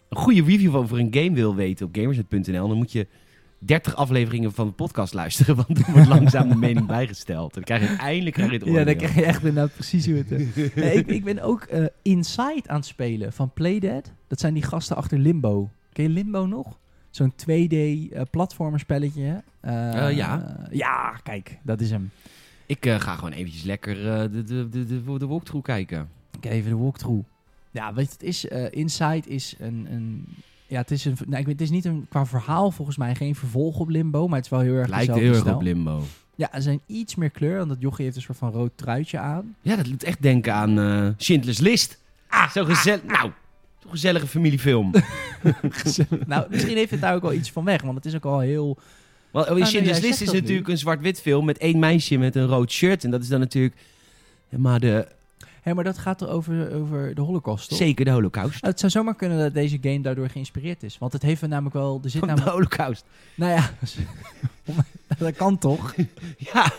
S1: een goede review over een game wil weten op gamers.nl, dan moet je 30 afleveringen van de podcast luisteren. Want er wordt langzaam de mening bijgesteld. En dan krijg je eindelijk krijg je het
S2: Ja, dan
S1: oordeel.
S2: krijg je echt inderdaad precies hoe het is. Nee, ik, ik ben ook eh, Inside aan het spelen van Playdead. Dat zijn die gasten achter Limbo. Ken je Limbo nog? Zo'n eh, 2D-platformerspelletje.
S1: Eh, ja.
S2: ja, kijk, dat is hem.
S1: Ik eh, ga gewoon eventjes lekker eh, de, de, de, de, de walkthrough kijken.
S2: Ik kijk even de walkthrough. Ja, weet je, het is, eh, Inside is een... een ja, het is, een, nou, ik weet, het is niet een, qua verhaal volgens mij geen vervolg op Limbo, maar het is wel heel erg
S1: Het lijkt
S2: dezelfde
S1: heel erg
S2: stijl.
S1: op Limbo.
S2: Ja, er zijn iets meer kleur, want dat jochie heeft een soort van rood truitje aan.
S1: Ja, dat doet echt denken aan eh Schindler's List. Ah, zo'n gezellig... nou, zo'n gezellige familiefilm.
S2: nou, misschien heeft het daar ook wel iets van weg, want het is ook al heel...
S1: Want oh,
S2: nee, nou, jij
S1: Schindler's
S2: zegt
S1: List is
S2: dat nu.
S1: natuurlijk een zwart-wit film met één meisje met een rood shirt. En dat is dan natuurlijk... Maar de,
S2: Hé, maar dat gaat er over, over de holocaust, toch? Nou,
S1: zeker de holocaust.
S2: Het zou zomaar kunnen dat deze game daardoor geïnspireerd is. Want het heeft namelijk wel... Er zit
S1: Van de
S2: namelijk...
S1: holocaust.
S2: Nou ja... Dat kan toch?
S1: Ja,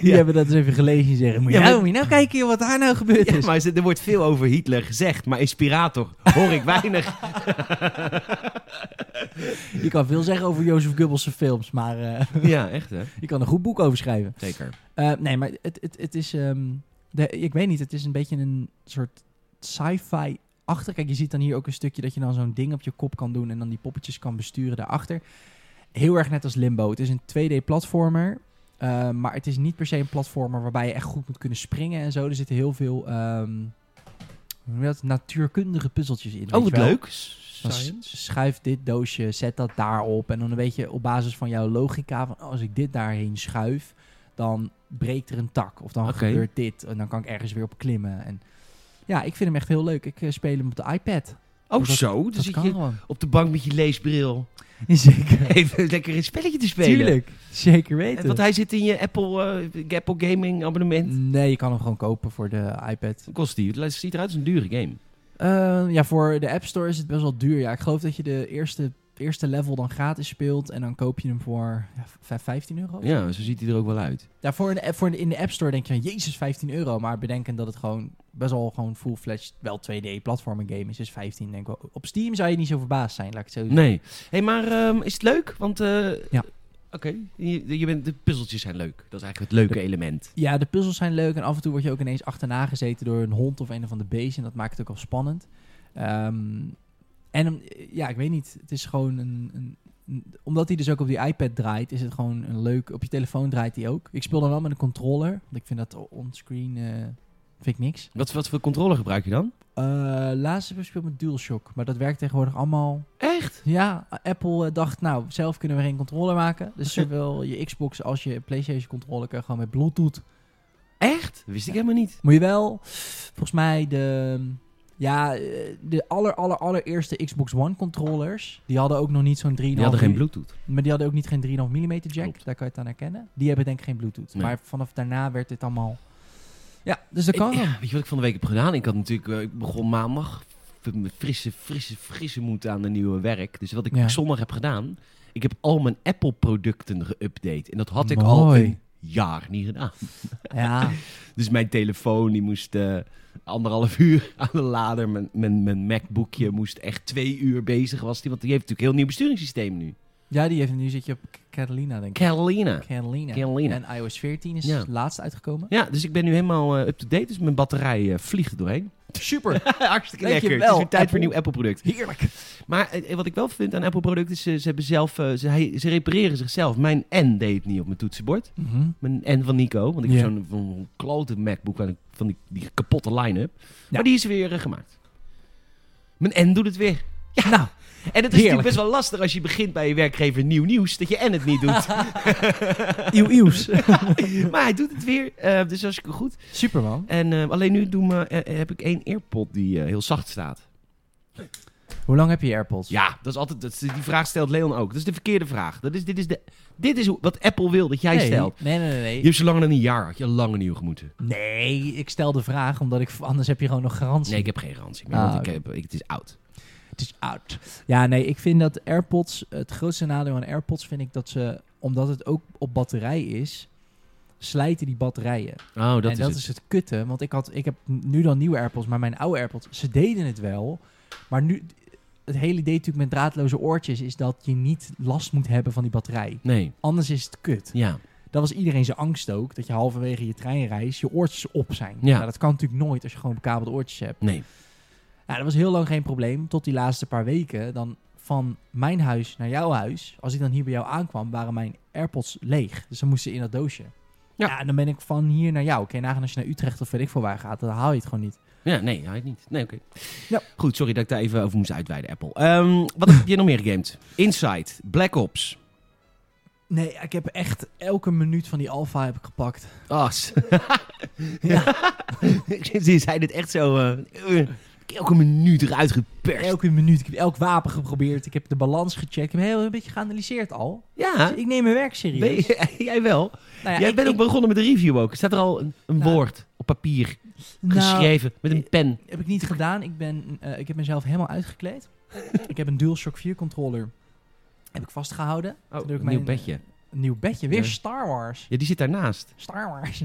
S2: Die hebben dat eens even gelezen en zeggen... Moet je
S1: Ja, maar-
S2: nou, moet je nou kijken joh, wat daar nou gebeurd
S1: ja,
S2: is.
S1: maar er wordt veel over Hitler gezegd. Maar inspirator hoor ik weinig.
S2: Je kan veel zeggen over Jozef Goebbels' films, maar eh,
S1: Ja, echt hè?
S2: je kan een goed boek over schrijven.
S1: Zeker.
S2: Eh, nee, maar het, het, het is. ehm, de, ik weet niet, het is een beetje een soort sci-fi achter. Kijk, je ziet dan hier ook een stukje dat je dan zo'n ding op je kop kan doen en dan die poppetjes kan besturen daarachter. Heel erg net als Limbo. Het is een 2D-platformer. eh, maar het is niet per se een platformer waarbij je echt goed moet kunnen springen en zo. Er zitten heel veel ehm, hoe noem je dat? natuurkundige puzzeltjes in. weet
S1: Oh,
S2: je
S1: wat
S2: wel.
S1: leuk.
S2: Dan s-
S1: Science.
S2: schuif dit doosje, zet dat daarop. En dan een beetje op basis van jouw logica, van oh, als ik dit daarheen schuif, dan breekt er een tak. Of dan
S1: Oké.
S2: gebeurt dit. En dan kan ik ergens weer op klimmen. En ja, ik vind hem echt heel leuk. Ik eh, speel hem op de iPad.
S1: Oh,
S2: Dat-
S1: zo. Dan
S2: dat
S1: zit
S2: kan
S1: je
S2: gewoon.
S1: op de bank met je leesbril.
S2: Zeker.
S1: Even lekker een spelletje te spelen.
S2: Tuurlijk. Zeker
S1: Eh,
S2: weten.
S1: Want hij zit in je Apple, eh, Apple Gaming abonnement.
S2: Nee, je kan hem gewoon kopen voor de iPad.
S1: Wat Mm. kost die? Het ziet eruit als een dure game.
S2: Eh, ja, voor de App Store is het best wel duur. Ja, ik geloof dat je de eerste, eerste level dan gratis speelt. En dan koop je hem voor ja, v- 15 euro. of zo.
S1: Ja, zo ziet hij er ook wel uit.
S2: Ja, voor in, de, app- voor in de App Store denk je, jezus, 15 euro. Maar bedenken dat het gewoon best wel gewoon full-fledged, wel 2D-platformer game is. Dus 15, denk ik wel. Op Steam zou je niet zo verbaasd zijn, laat ik het zo zeggen.
S1: Nee. hey, maar ehm, is het leuk? Want, eh,
S2: Ja.
S1: Oké, je, je bent, de puzzeltjes zijn leuk. Dat is eigenlijk het leuke element.
S2: Ja, de puzzels zijn leuk. En af en toe word je ook ineens achterna gezeten door een hond of een of ander beest. En dat maakt het ook al spannend. Ehm, en hem- ja, ik weet niet. Het is gewoon een... een een- omdat hij dus ook op die iPad draait, is het gewoon een leuk... Op je telefoon draait hij ook. Ik speel dan wel met een controller. Want ik vind dat onscreen... eh vind ik niks.
S1: Wat, wat voor controle gebruik je dan?
S2: Eh laatst heb ik gespeeld met DualShock, maar dat werkt tegenwoordig allemaal.
S1: Echt?
S2: Ja, Apple eh, dacht, nou, zelf kunnen we geen controller maken. Dus zowel je Xbox als je PlayStation controller kan gewoon met Bluetooth.
S1: Echt? Wist ik helemaal niet.
S2: Moet je wel, volgens mij de, ja, eh, de aller, aller, allereerste Xbox One controllers, die hadden ook nog niet zo'n 3,5
S1: Die hadden geen
S2: mm,
S1: Bluetooth.
S2: Maar die hadden ook niet geen 3,5 mm jack,
S1: Klopt.
S2: daar kan je het aan herkennen. Die hebben denk ik geen Bluetooth.
S1: Nee.
S2: Maar vanaf daarna werd dit allemaal... Ja, dus dat
S1: Ik-
S2: kan wel.
S1: ja, weet je wat ik van de week heb gedaan? Ik had natuurlijk, eh, ik begon maandag f- met frisse, frisse, frisse moed aan een nieuwe werk. Dus wat ik
S2: Ja.
S1: zondag heb gedaan, ik heb al mijn Apple producten geüpdate. En dat had ik al
S2: Mooi.
S1: een jaar niet gedaan.
S2: Ja,
S1: Dus mijn telefoon die moest eh, anderhalf uur aan de lader. Mijn, mijn, mijn MacBookje moest echt twee uur bezig was. Die, want die heeft natuurlijk een heel nieuw besturingssysteem nu.
S2: ja die heeft, nu zit je op Catalina denk ik.
S1: Catalina.
S2: Catalina.
S1: Catalina.
S2: En iOS 14 is
S1: Ja.
S2: het laatst uitgekomen.
S1: Ja, dus ik ben nu helemaal eh, up-to-date. Dus mijn batterij eh, vliegt er doorheen.
S2: Super.
S1: Hartstikke lekker.
S2: Dankjewel,
S1: Het is weer tijd voor
S2: Apple.
S1: een nieuw Apple-product.
S2: Heerlijk.
S1: Maar eh, wat ik wel vind aan Apple-producten is... eh, ze, hebben zelf, eh, ze, hij- ze repareren zichzelf. Mijn N deed het niet op mijn toetsenbord.
S2: Mhm.
S1: Mijn N van Nico. Want ik
S2: Ja.
S1: heb zo'n zo'n klote MacBook aan- van die, die kapotte line-up. Maar die is weer eh, gemaakt. Mijn N doet het weer.
S2: Ja, nou.
S1: En het is
S2: Heerlijk.
S1: natuurlijk best wel lastig als je begint bij je werkgever nieuw nieuws, dat je en het niet doet.
S2: Ieuw, ieuws.
S1: maar hij doet het weer, eh, dus hartstikke goed.
S2: Super, man.
S1: En eh, alleen nu doen we, eh, heb ik één earpod die eh, heel zacht staat.
S2: Hoe lang heb je AirPods?
S1: Ja, dat is altijd, dat is- die vraag stelt Leon ook. Dat is de verkeerde vraag. Dat is, dit, is de, dit is hoe- wat Apple wil dat jij
S2: nee.
S1: stelt.
S2: Nee, nee, nee.
S1: Je
S2: nee.
S1: hebt zo langer dan een jaar, had je al lang een nieuw gemoeten.
S2: Nee, ik stel de vraag omdat ik anders heb je gewoon nog garantie.
S1: Nee, ik heb geen garantie meer,
S2: Ah,
S1: want ik
S2: oké.
S1: heb, ik, het is oud.
S2: Het is oud. Ja, nee, ik vind dat AirPods, het grootste nadeel aan AirPods vind ik dat ze, omdat het ook op batterij is, slijten die batterijen.
S1: Oh, dat,
S2: en
S1: is,
S2: dat
S1: het.
S2: is het kutte, want ik, had, ik heb nu dan nieuwe AirPods, maar mijn oude AirPods, ze deden het wel. Maar nu, het hele idee natuurlijk met draadloze oortjes is dat je niet last moet hebben van die batterij.
S1: Nee,
S2: Anders is het kut.
S1: ja.
S2: Dat was iedereen zijn angst ook, dat je halverwege je treinreis je oortjes op zijn.
S1: Ja.
S2: Nou, dat kan natuurlijk nooit als je gewoon bekabelde oortjes hebt.
S1: Nee.
S2: Ja, dat was heel lang geen probleem, tot die laatste paar weken. Dan van mijn huis naar jouw huis, als ik dan hier bij jou aankwam, waren mijn AirPods leeg. Dus dan moesten ze in dat doosje.
S1: Ja.
S2: Ja, en dan ben ik van hier naar jou. Oké, nagaan als je naar Utrecht of weet ik veel waar gaat, dan haal je het gewoon niet.
S1: Ja, nee, hij niet. Nee, oké.
S2: Ja.
S1: Goed, sorry dat ik daar even over moest uitweiden, Apple. Ehm, wat heb je nog meer gegamed? Inside, Black Ops.
S2: Nee, ik heb echt elke minuut van die alfa heb ik gepakt.
S1: As.
S2: Ja.
S1: Ze zei dit echt zo... eh, eh, elke minuut eruit geperst.
S2: Elke minuut. Ik heb elk wapen geprobeerd. Ik heb de balans gecheckt. Ik heb heel een beetje geanalyseerd al.
S1: Ja,
S2: Ik neem mijn werk serieus.
S1: ben je- jij wel.
S2: Nou ja,
S1: jij
S2: ik-
S1: bent ook
S2: ik-
S1: begonnen met de review ook. Staat er al een, een
S2: Nou.
S1: woord op papier
S2: nou,
S1: geschreven met een pen?
S2: heb ik niet gedaan. Ik, ben, eh, ik heb mezelf helemaal uitgekleed. ik heb een DualShock 4 controller. Heb ik vastgehouden.
S1: Oh,
S2: doe ik
S1: een
S2: mijn-
S1: nieuw bedje.
S2: Een nieuw bedje. Weer
S1: Ja.
S2: Star Wars.
S1: Ja, die zit daarnaast.
S2: Star Wars.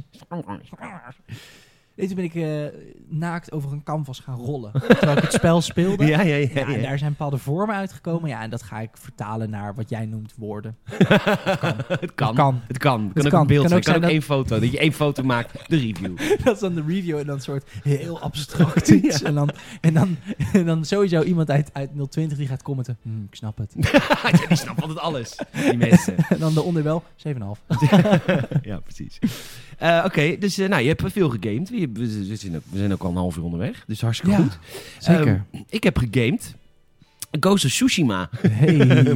S2: Nee, toen ben ik eh, naakt over een canvas gaan rollen. Terwijl ik het spel speelde.
S1: Ja, ja, ja.
S2: Ja, en
S1: ja.
S2: daar zijn bepaalde vormen uitgekomen. Ja, en dat ga ik vertalen naar wat jij noemt woorden.
S1: het kan.
S2: kan.
S1: Het kan. Het kan
S2: Het
S1: ook
S2: kan.
S1: een beeld zijn. Het
S2: Kan ook
S1: kan ook
S2: zijn dat-
S1: één foto. Dat je één foto maakt, de review.
S2: Dat is dan de review en dan een soort heel abstract iets. En, dan, en, dan, en dan sowieso iemand uit, uit 020 die gaat commenten. "Hmm, ik snap het.
S1: Ja, die snapt altijd alles, die mensen.
S2: En dan daaronder wel 7,5.
S1: ja, precies. Eh, Oké, dus eh, nou, je hebt veel gegamed. We, we- we zijn ook, we zijn ook al een half uur onderweg, dus hartstikke goed.
S2: Zeker.
S1: Ik heb gegamed. Ghost of Tsushima.
S2: Ehm, hey.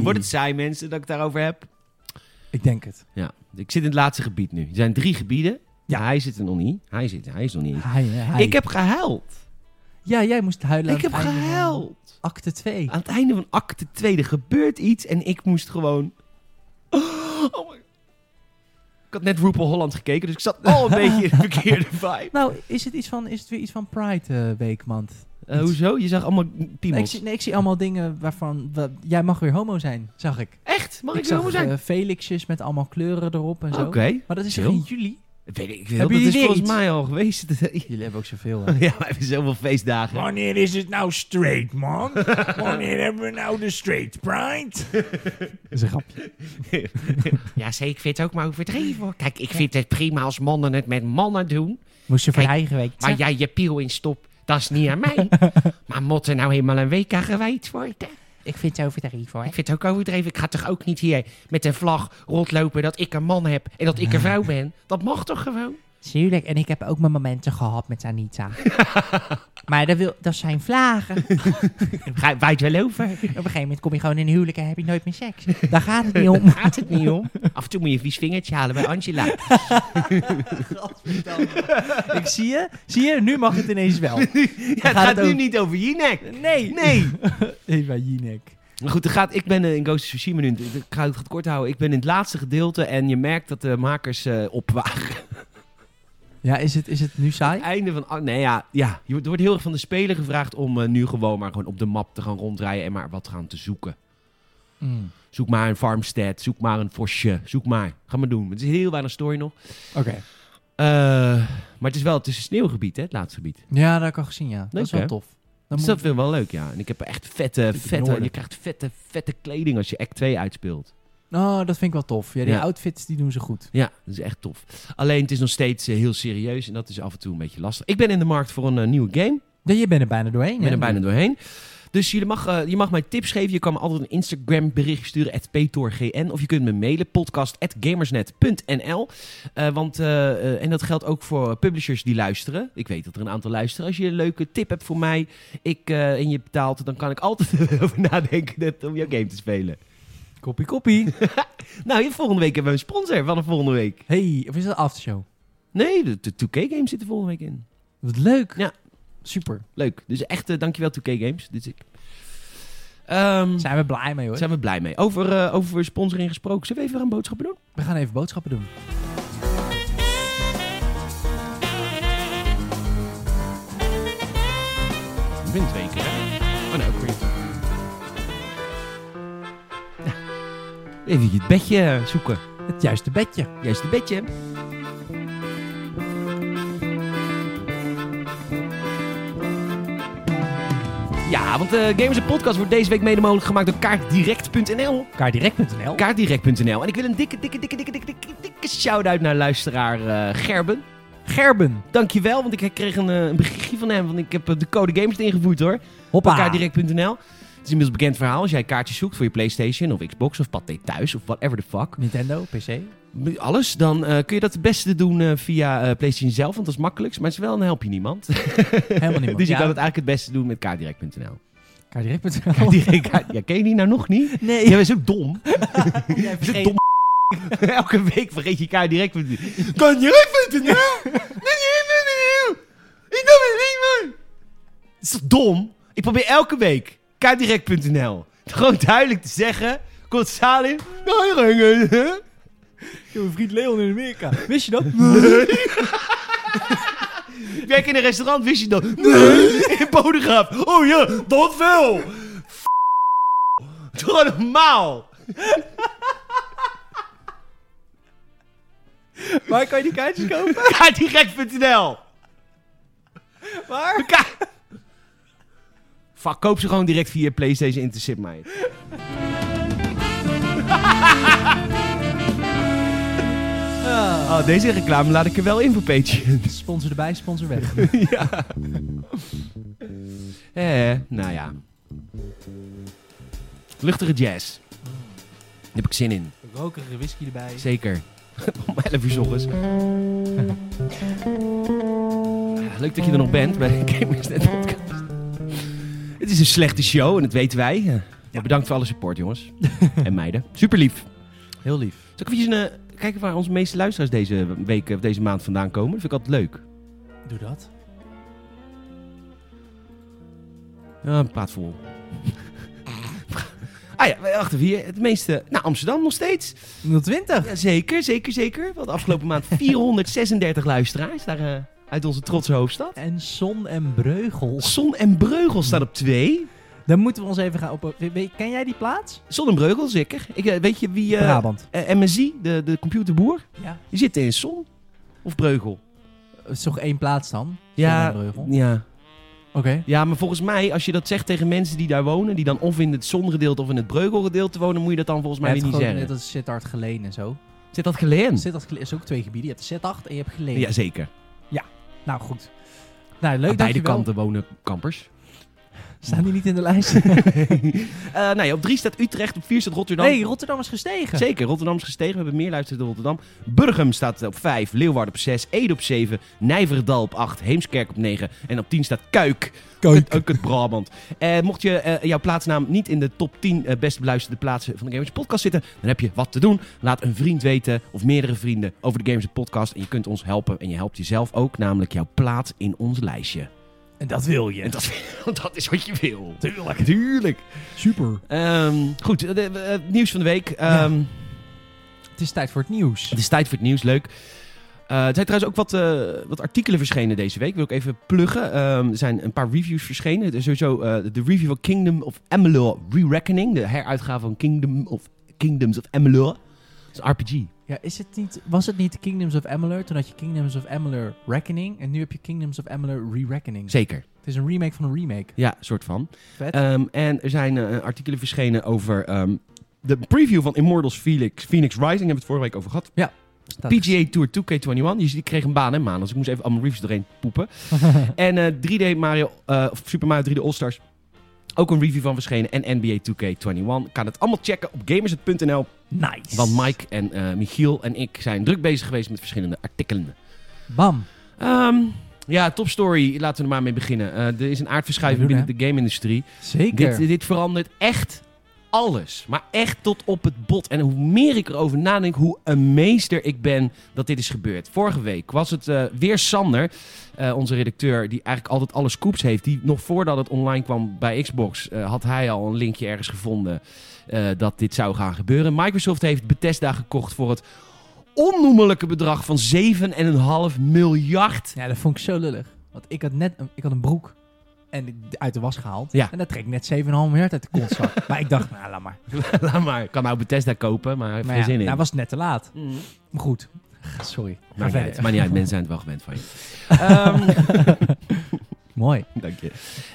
S1: Wordt het saai, mensen, dat ik het daarover heb?
S2: Ik denk het.
S1: Ja, ik zit in het laatste gebied nu. Er zijn drie gebieden. Ja,
S2: Ja.
S1: hij zit er nog niet. Hij, zit, hij is nog niet. in.
S2: Hij, eh, hij.
S1: Ik heb gehuild.
S2: ja, jij moest huilen. aan
S1: Ik heb
S2: het einde van
S1: gehuild.
S2: Acte 2.
S1: Aan het einde van acte 2 er gebeurt iets en ik moest gewoon... Oh my- Ik had net RuPaul Holland gekeken, dus ik zat al een beetje in de verkeerde vibe.
S2: Nou, is het, iets van, is het weer iets van Pride eh, Week, man?
S1: Eh, hoezo? Je zag allemaal
S2: Nee, ik,
S1: piemels.
S2: zie, nee, ik zie allemaal dingen waarvan... wa- jij mag weer homo zijn, zag ik.
S1: Echt? Mag ik,
S2: ik
S1: zo
S2: zag
S1: homo zijn?
S2: eh, Felixjes met allemaal kleuren erop en zo.
S1: Oké.
S2: Maar dat is
S1: chill.
S2: toch in juli?
S1: Weet ik veel. Dat
S2: Hebben jullie
S1: is
S2: weer
S1: volgens
S2: iets?
S1: mij al geweest.
S2: Jullie hebben ook zoveel.
S1: ja, we hebben zoveel feestdagen.
S4: Wanneer is het nou straight, man? Wanneer hebben we nou de straight pride?
S2: is een grapje.
S1: Ja, zeker. Ik vind het ook maar overdreven hoor. Kijk, ik vind het prima als mannen het met mannen doen.
S3: Moest je voor
S1: Kijk,
S3: je eigen week.
S1: Waar jij je piel in stopt, dat is niet aan mij. maar moet er nou helemaal een week aan gewijd worden?
S3: Ik vind het overdreven hoor.
S1: Ik vind het ook overdreven. Ik ga toch ook niet hier met een vlag rondlopen dat ik een man heb en dat ik een vrouw ben. Dat mag toch gewoon?
S3: Tuurlijk, en ik heb ook mijn momenten gehad met Anita. maar dat, wil, dat zijn vlagen. Op
S1: Ga- Waait wel over.
S3: een gegeven moment kom je gewoon in een huwelijk en heb je nooit meer seks. Daar gaat het niet om.
S1: Gaat het niet om? Af en toe moet je een vies vingertje halen bij Angela.
S2: ik zie je. Zie je? Nu mag het ineens wel.
S1: Ja, het
S2: gaat
S1: gaat nu
S2: ook-
S1: niet over Jinek.
S2: Nee.
S1: Nee.
S2: Eva Jinek.
S1: Maar goed, er gaat, ik ben eh, in Ghost of Tsushima nu, ik ga het kort houden, ik ben in het laatste gedeelte en je merkt dat de makers eh opwagen.
S2: Ja, is het, is het nu saai?
S1: Einde van, ah, nee ja, ja, je wordt- er wordt heel erg van de speler gevraagd om eh, nu gewoon maar gewoon op de map te gaan rondrijden en maar wat gaan te zoeken.
S2: Mm.
S1: Zoek maar een farmstead, zoek maar een forsje, zoek maar. Ga maar doen. Het is heel weinig story nog.
S2: Oké.
S1: Eh, maar het is wel, het is een sneeuwgebied hè, het laatste gebied.
S2: Ja, dat heb ik al gezien, ja. dat
S1: Leuk,
S2: is wel
S1: hè?
S2: tof. Dan
S1: Dus
S2: moet-
S1: dat vind ik wel leuk, ja. En ik heb echt vette,
S2: in het
S1: vette,
S2: noorden.
S1: je krijgt vette, vette kleding als je act 2 uitspeelt.
S2: Oh, dat vind ik wel tof. Ja, die
S1: Ja.
S2: outfits die doen ze goed.
S1: Ja, dat is echt tof. Alleen het is nog steeds eh, heel serieus en dat is af en toe een beetje lastig. Ik ben in de markt voor een eh, nieuwe game.
S2: Ja, je bent er bijna doorheen.
S1: Ik ben er bijna doorheen. Dus jullie mag, eh, je mag mij tips geven. Je kan me altijd een Instagram bericht sturen, at ptorgn. Of je kunt me mailen, podcast at gamersnet.nl. Eh, want, eh, eh, en dat geldt ook voor publishers die luisteren. Ik weet dat er een aantal luisteren. Als je een leuke tip hebt voor mij ik, eh, en je betaalt, dan kan ik altijd over nadenken net om jouw game te spelen.
S2: Koppie, koppie.
S1: Nou, volgende week hebben we een sponsor van de volgende week.
S2: hey, of is dat aftershow?
S1: Nee, de, de 2K-game zit er volgende week in.
S2: Wat leuk.
S1: Ja.
S2: Super.
S1: Leuk. Dus echt, eh, dankjewel 2K Games. Dit is ik. Ehm,
S2: Zijn we blij mee, hoor.
S1: zijn we blij mee. Over, eh, over sponsoring gesproken. Zullen we even een boodschappen doen?
S2: We gaan even boodschappen doen.
S1: Win twee keer, Oh nee, ook Even het bedje eh, zoeken.
S2: Het juiste bedje.
S1: Juist het bedje. Ja, want eh Gamers en Podcast wordt deze week mede mogelijk gemaakt door kaartdirect.nl.
S2: Kaardirect.nl.
S1: Kaartdirect.nl. En ik wil een dikke, dikke, dikke, dikke, dikke, dikke, dikke shout-out naar luisteraar eh, Gerben.
S2: Gerben.
S1: Dankjewel, want ik kreeg een, eh, een berichtje van hem. Want ik heb eh, de code Gamers ingevoerd hoor.
S2: Hoppa.
S1: Kaartdirect.nl. Het is inmiddels een bekend verhaal. Als jij kaartjes zoekt voor je PlayStation of Xbox of Pathé thuis of whatever the fuck.
S2: Nintendo, PC.
S1: Alles. Dan eh, kun je dat het beste doen eh, via eh, PlayStation zelf, want dat is makkelijkst. Maar het is wel, dan help je niemand.
S2: Helemaal niet.
S1: dus je kan het eigenlijk het beste doen met kaartdirect.nl.
S2: Kaardirect.nl.
S1: Direct- Ja, ken je die nou nog niet?
S2: Nee.
S1: Jij bent zo dom.
S2: Jij
S1: Zo
S2: vergeet-
S1: dom. Elke week vergeet je kaartdirect.nl. Kaartdirect.nl? Kaartdirect.nl? Ik doe het niet, man. Het is toch dom? Ik probeer elke week kaartdirect.nl gewoon duidelijk te zeggen. Komt Salim? Nou,
S2: Yo, Mijn vriend Leon in Amerika. Wist je dat?
S1: Ik werk in een restaurant, wist je dat? Nee! In Bodegraaf. Oh ja, dat wel! F- Doe gewoon normaal!
S2: Waar kan je die kaartjes kopen?
S1: Kaartdirect.nl
S2: Waar?
S1: Ka- Fuck, koop ze gewoon direct via PlayStation Intercept, mij. Oh, deze reclame laat ik er wel in voor Patreon.
S2: Sponsor erbij, sponsor weg.
S1: Eh, nou ja. Luchtige jazz. Daar heb ik zin in.
S2: Rokerige whisky erbij.
S1: Zeker. Om 11 uur 's ochtends. Ja, Leuk dat je er nog bent bij Gamers Net Podcast. Het is een slechte show en dat weten wij. Eh, Maar bedankt voor alle support, jongens. en meiden. Super lief. Zal
S2: Heel lief.
S1: ik even eh, kijken waar onze meeste luisteraars deze week of deze maand vandaan komen? Dat vind ik altijd leuk.
S2: Doe dat.
S1: Ja, praat vol. ah ja, wacht even hier. Het meeste. Nou, Amsterdam nog steeds.
S2: 020.
S1: Ja, zeker, zeker, zeker. Want afgelopen maand 436 luisteraars daar, eh, uit onze trotse hoofdstad.
S2: En Son en Breugel.
S1: Zon en Breugel staat op twee.
S2: Dan moeten we ons even gaan op... weet- Ken jij die plaats?
S1: Zon en Breugel, zeker. Ik, eh, weet je wie... eh,
S2: Brabant.
S1: eh, MSI, de, de computerboer,
S2: Ja.
S1: die zit in Zon. Of Breugel.
S2: Het is toch één plaats dan? Son en Breugel. Oké.
S1: ja. ja, maar volgens mij, als je dat zegt tegen mensen die daar wonen... die dan of in het zongedeelte of in het Breugelgedeelte wonen... moet je dat dan volgens mij
S2: Maar
S1: weer niet zeggen.
S2: Dat is Sittard Geleen en zo.
S1: Zit dat geleerd?
S2: Sittard Geleen is ook twee gebieden. Je hebt Sittard en je hebt Geleen.
S1: Ja, zeker.
S2: Nou, goed. Nou,
S1: Aan
S2: leuk dat
S1: beide
S2: je wel...
S1: kanten wonen kampers.
S2: Staan die niet in de lijst?
S1: Eh nou ja, op drie staat Utrecht, op vier staat Rotterdam.
S2: nee, Rotterdam is gestegen.
S1: Zeker, Rotterdam is gestegen. We hebben meer luisteren dan Rotterdam. Burgum staat op 5, Leeuwarden op 6, Ede op 7, Nijverdal op 8, Heemskerk op 9 en op 10 staat Kuik. Kuik. Ook het Brabant. Eh, mocht je eh, jouw plaatsnaam niet in de top 10 eh, best beluisterde plaatsen van de Gamers Podcast zitten, dan heb je wat te doen. Laat een vriend weten of meerdere vrienden over de Gamers Podcast en je kunt ons helpen en je helpt jezelf ook, namelijk jouw plaats in ons lijstje.
S4: En dat wil je.
S1: En dat, dat is wat je wil.
S4: Tuurlijk.
S1: Tuurlijk.
S2: Super.
S1: Ehm, goed, de- de- het nieuws van de week. Ehm,
S2: Het is tijd voor het nieuws.
S1: Het is tijd voor het nieuws, leuk. Eh, er zijn trouwens ook wat, eh, wat artikelen verschenen deze week. Wil ik even pluggen. Ehm, er zijn een paar reviews verschenen. Er is sowieso eh, de review van Kingdom of Amalur Re-Reckoning. De heruitgave van Kingdom of Kingdoms of Amalur. Dat is een RPG.
S2: Ja, is het niet, was het niet Kingdoms of Amalur? Toen had je Kingdoms of Amalur Reckoning. En nu heb je Kingdoms of Amalur Re-Reckoning.
S1: Zeker.
S2: Het is een remake van een remake.
S1: Ja, soort van.
S2: Vet.
S1: Ehm, en er zijn eh, artikelen verschenen over ehm, de preview van Immortals Felix, Phoenix Rising. Hebben we het vorige week over gehad.
S2: Staat-
S1: PGA Tour 2K21. Je ziet, ik kreeg een baan, hè, man. Dus ik moest even allemaal reviews doorheen poepen. en eh, 3D Mario, eh, of Super Mario 3D All-Stars. Ook een review van verschenen. En NBA 2K21. Kan het allemaal checken op gamers.nl.
S2: Nice.
S1: Want Mike en eh, Michiel en ik zijn druk bezig geweest met verschillende artikelen.
S2: Bam.
S1: Ehm, ja, topstory. Laten we er maar mee beginnen. Eh, er is een aardverschuiving
S2: Ja, doen,
S1: binnen de game-industrie.
S2: Zeker.
S1: Dit, dit verandert echt alles. Maar echt tot op het bot. En hoe meer ik erover nadenk, hoe een meester ik ben dat dit is gebeurd. Vorige week was het eh, weer Sander, eh, onze redacteur, die eigenlijk altijd alle scoops heeft. Die nog voordat het online kwam bij Xbox, eh, had hij al een linkje ergens gevonden eh, dat dit zou gaan gebeuren. Microsoft heeft Bethesda gekocht voor het onnoemelijke bedrag van 7,5 miljard
S2: Ja, dat vond ik zo lullig. Want ik had net een, ik had een broek en ik- uit de was gehaald.
S1: Ja.
S2: En dat trekt net 7,5 miljard uit de kontzak. maar ik dacht, nou, laat maar.
S1: Laat maar, ik kan nou Bethesda kopen, maar hij heeft
S2: Maar
S1: geen
S2: ja,
S1: zin in.
S2: nou was het net te laat.
S1: Mm.
S2: Maar goed. Sorry. Ga
S1: Maar Ah, niet,
S2: verder. Ehm,
S1: uit, maakt niet uit, mensen zijn het wel gewend van je.
S2: Mooi.
S1: Dank je.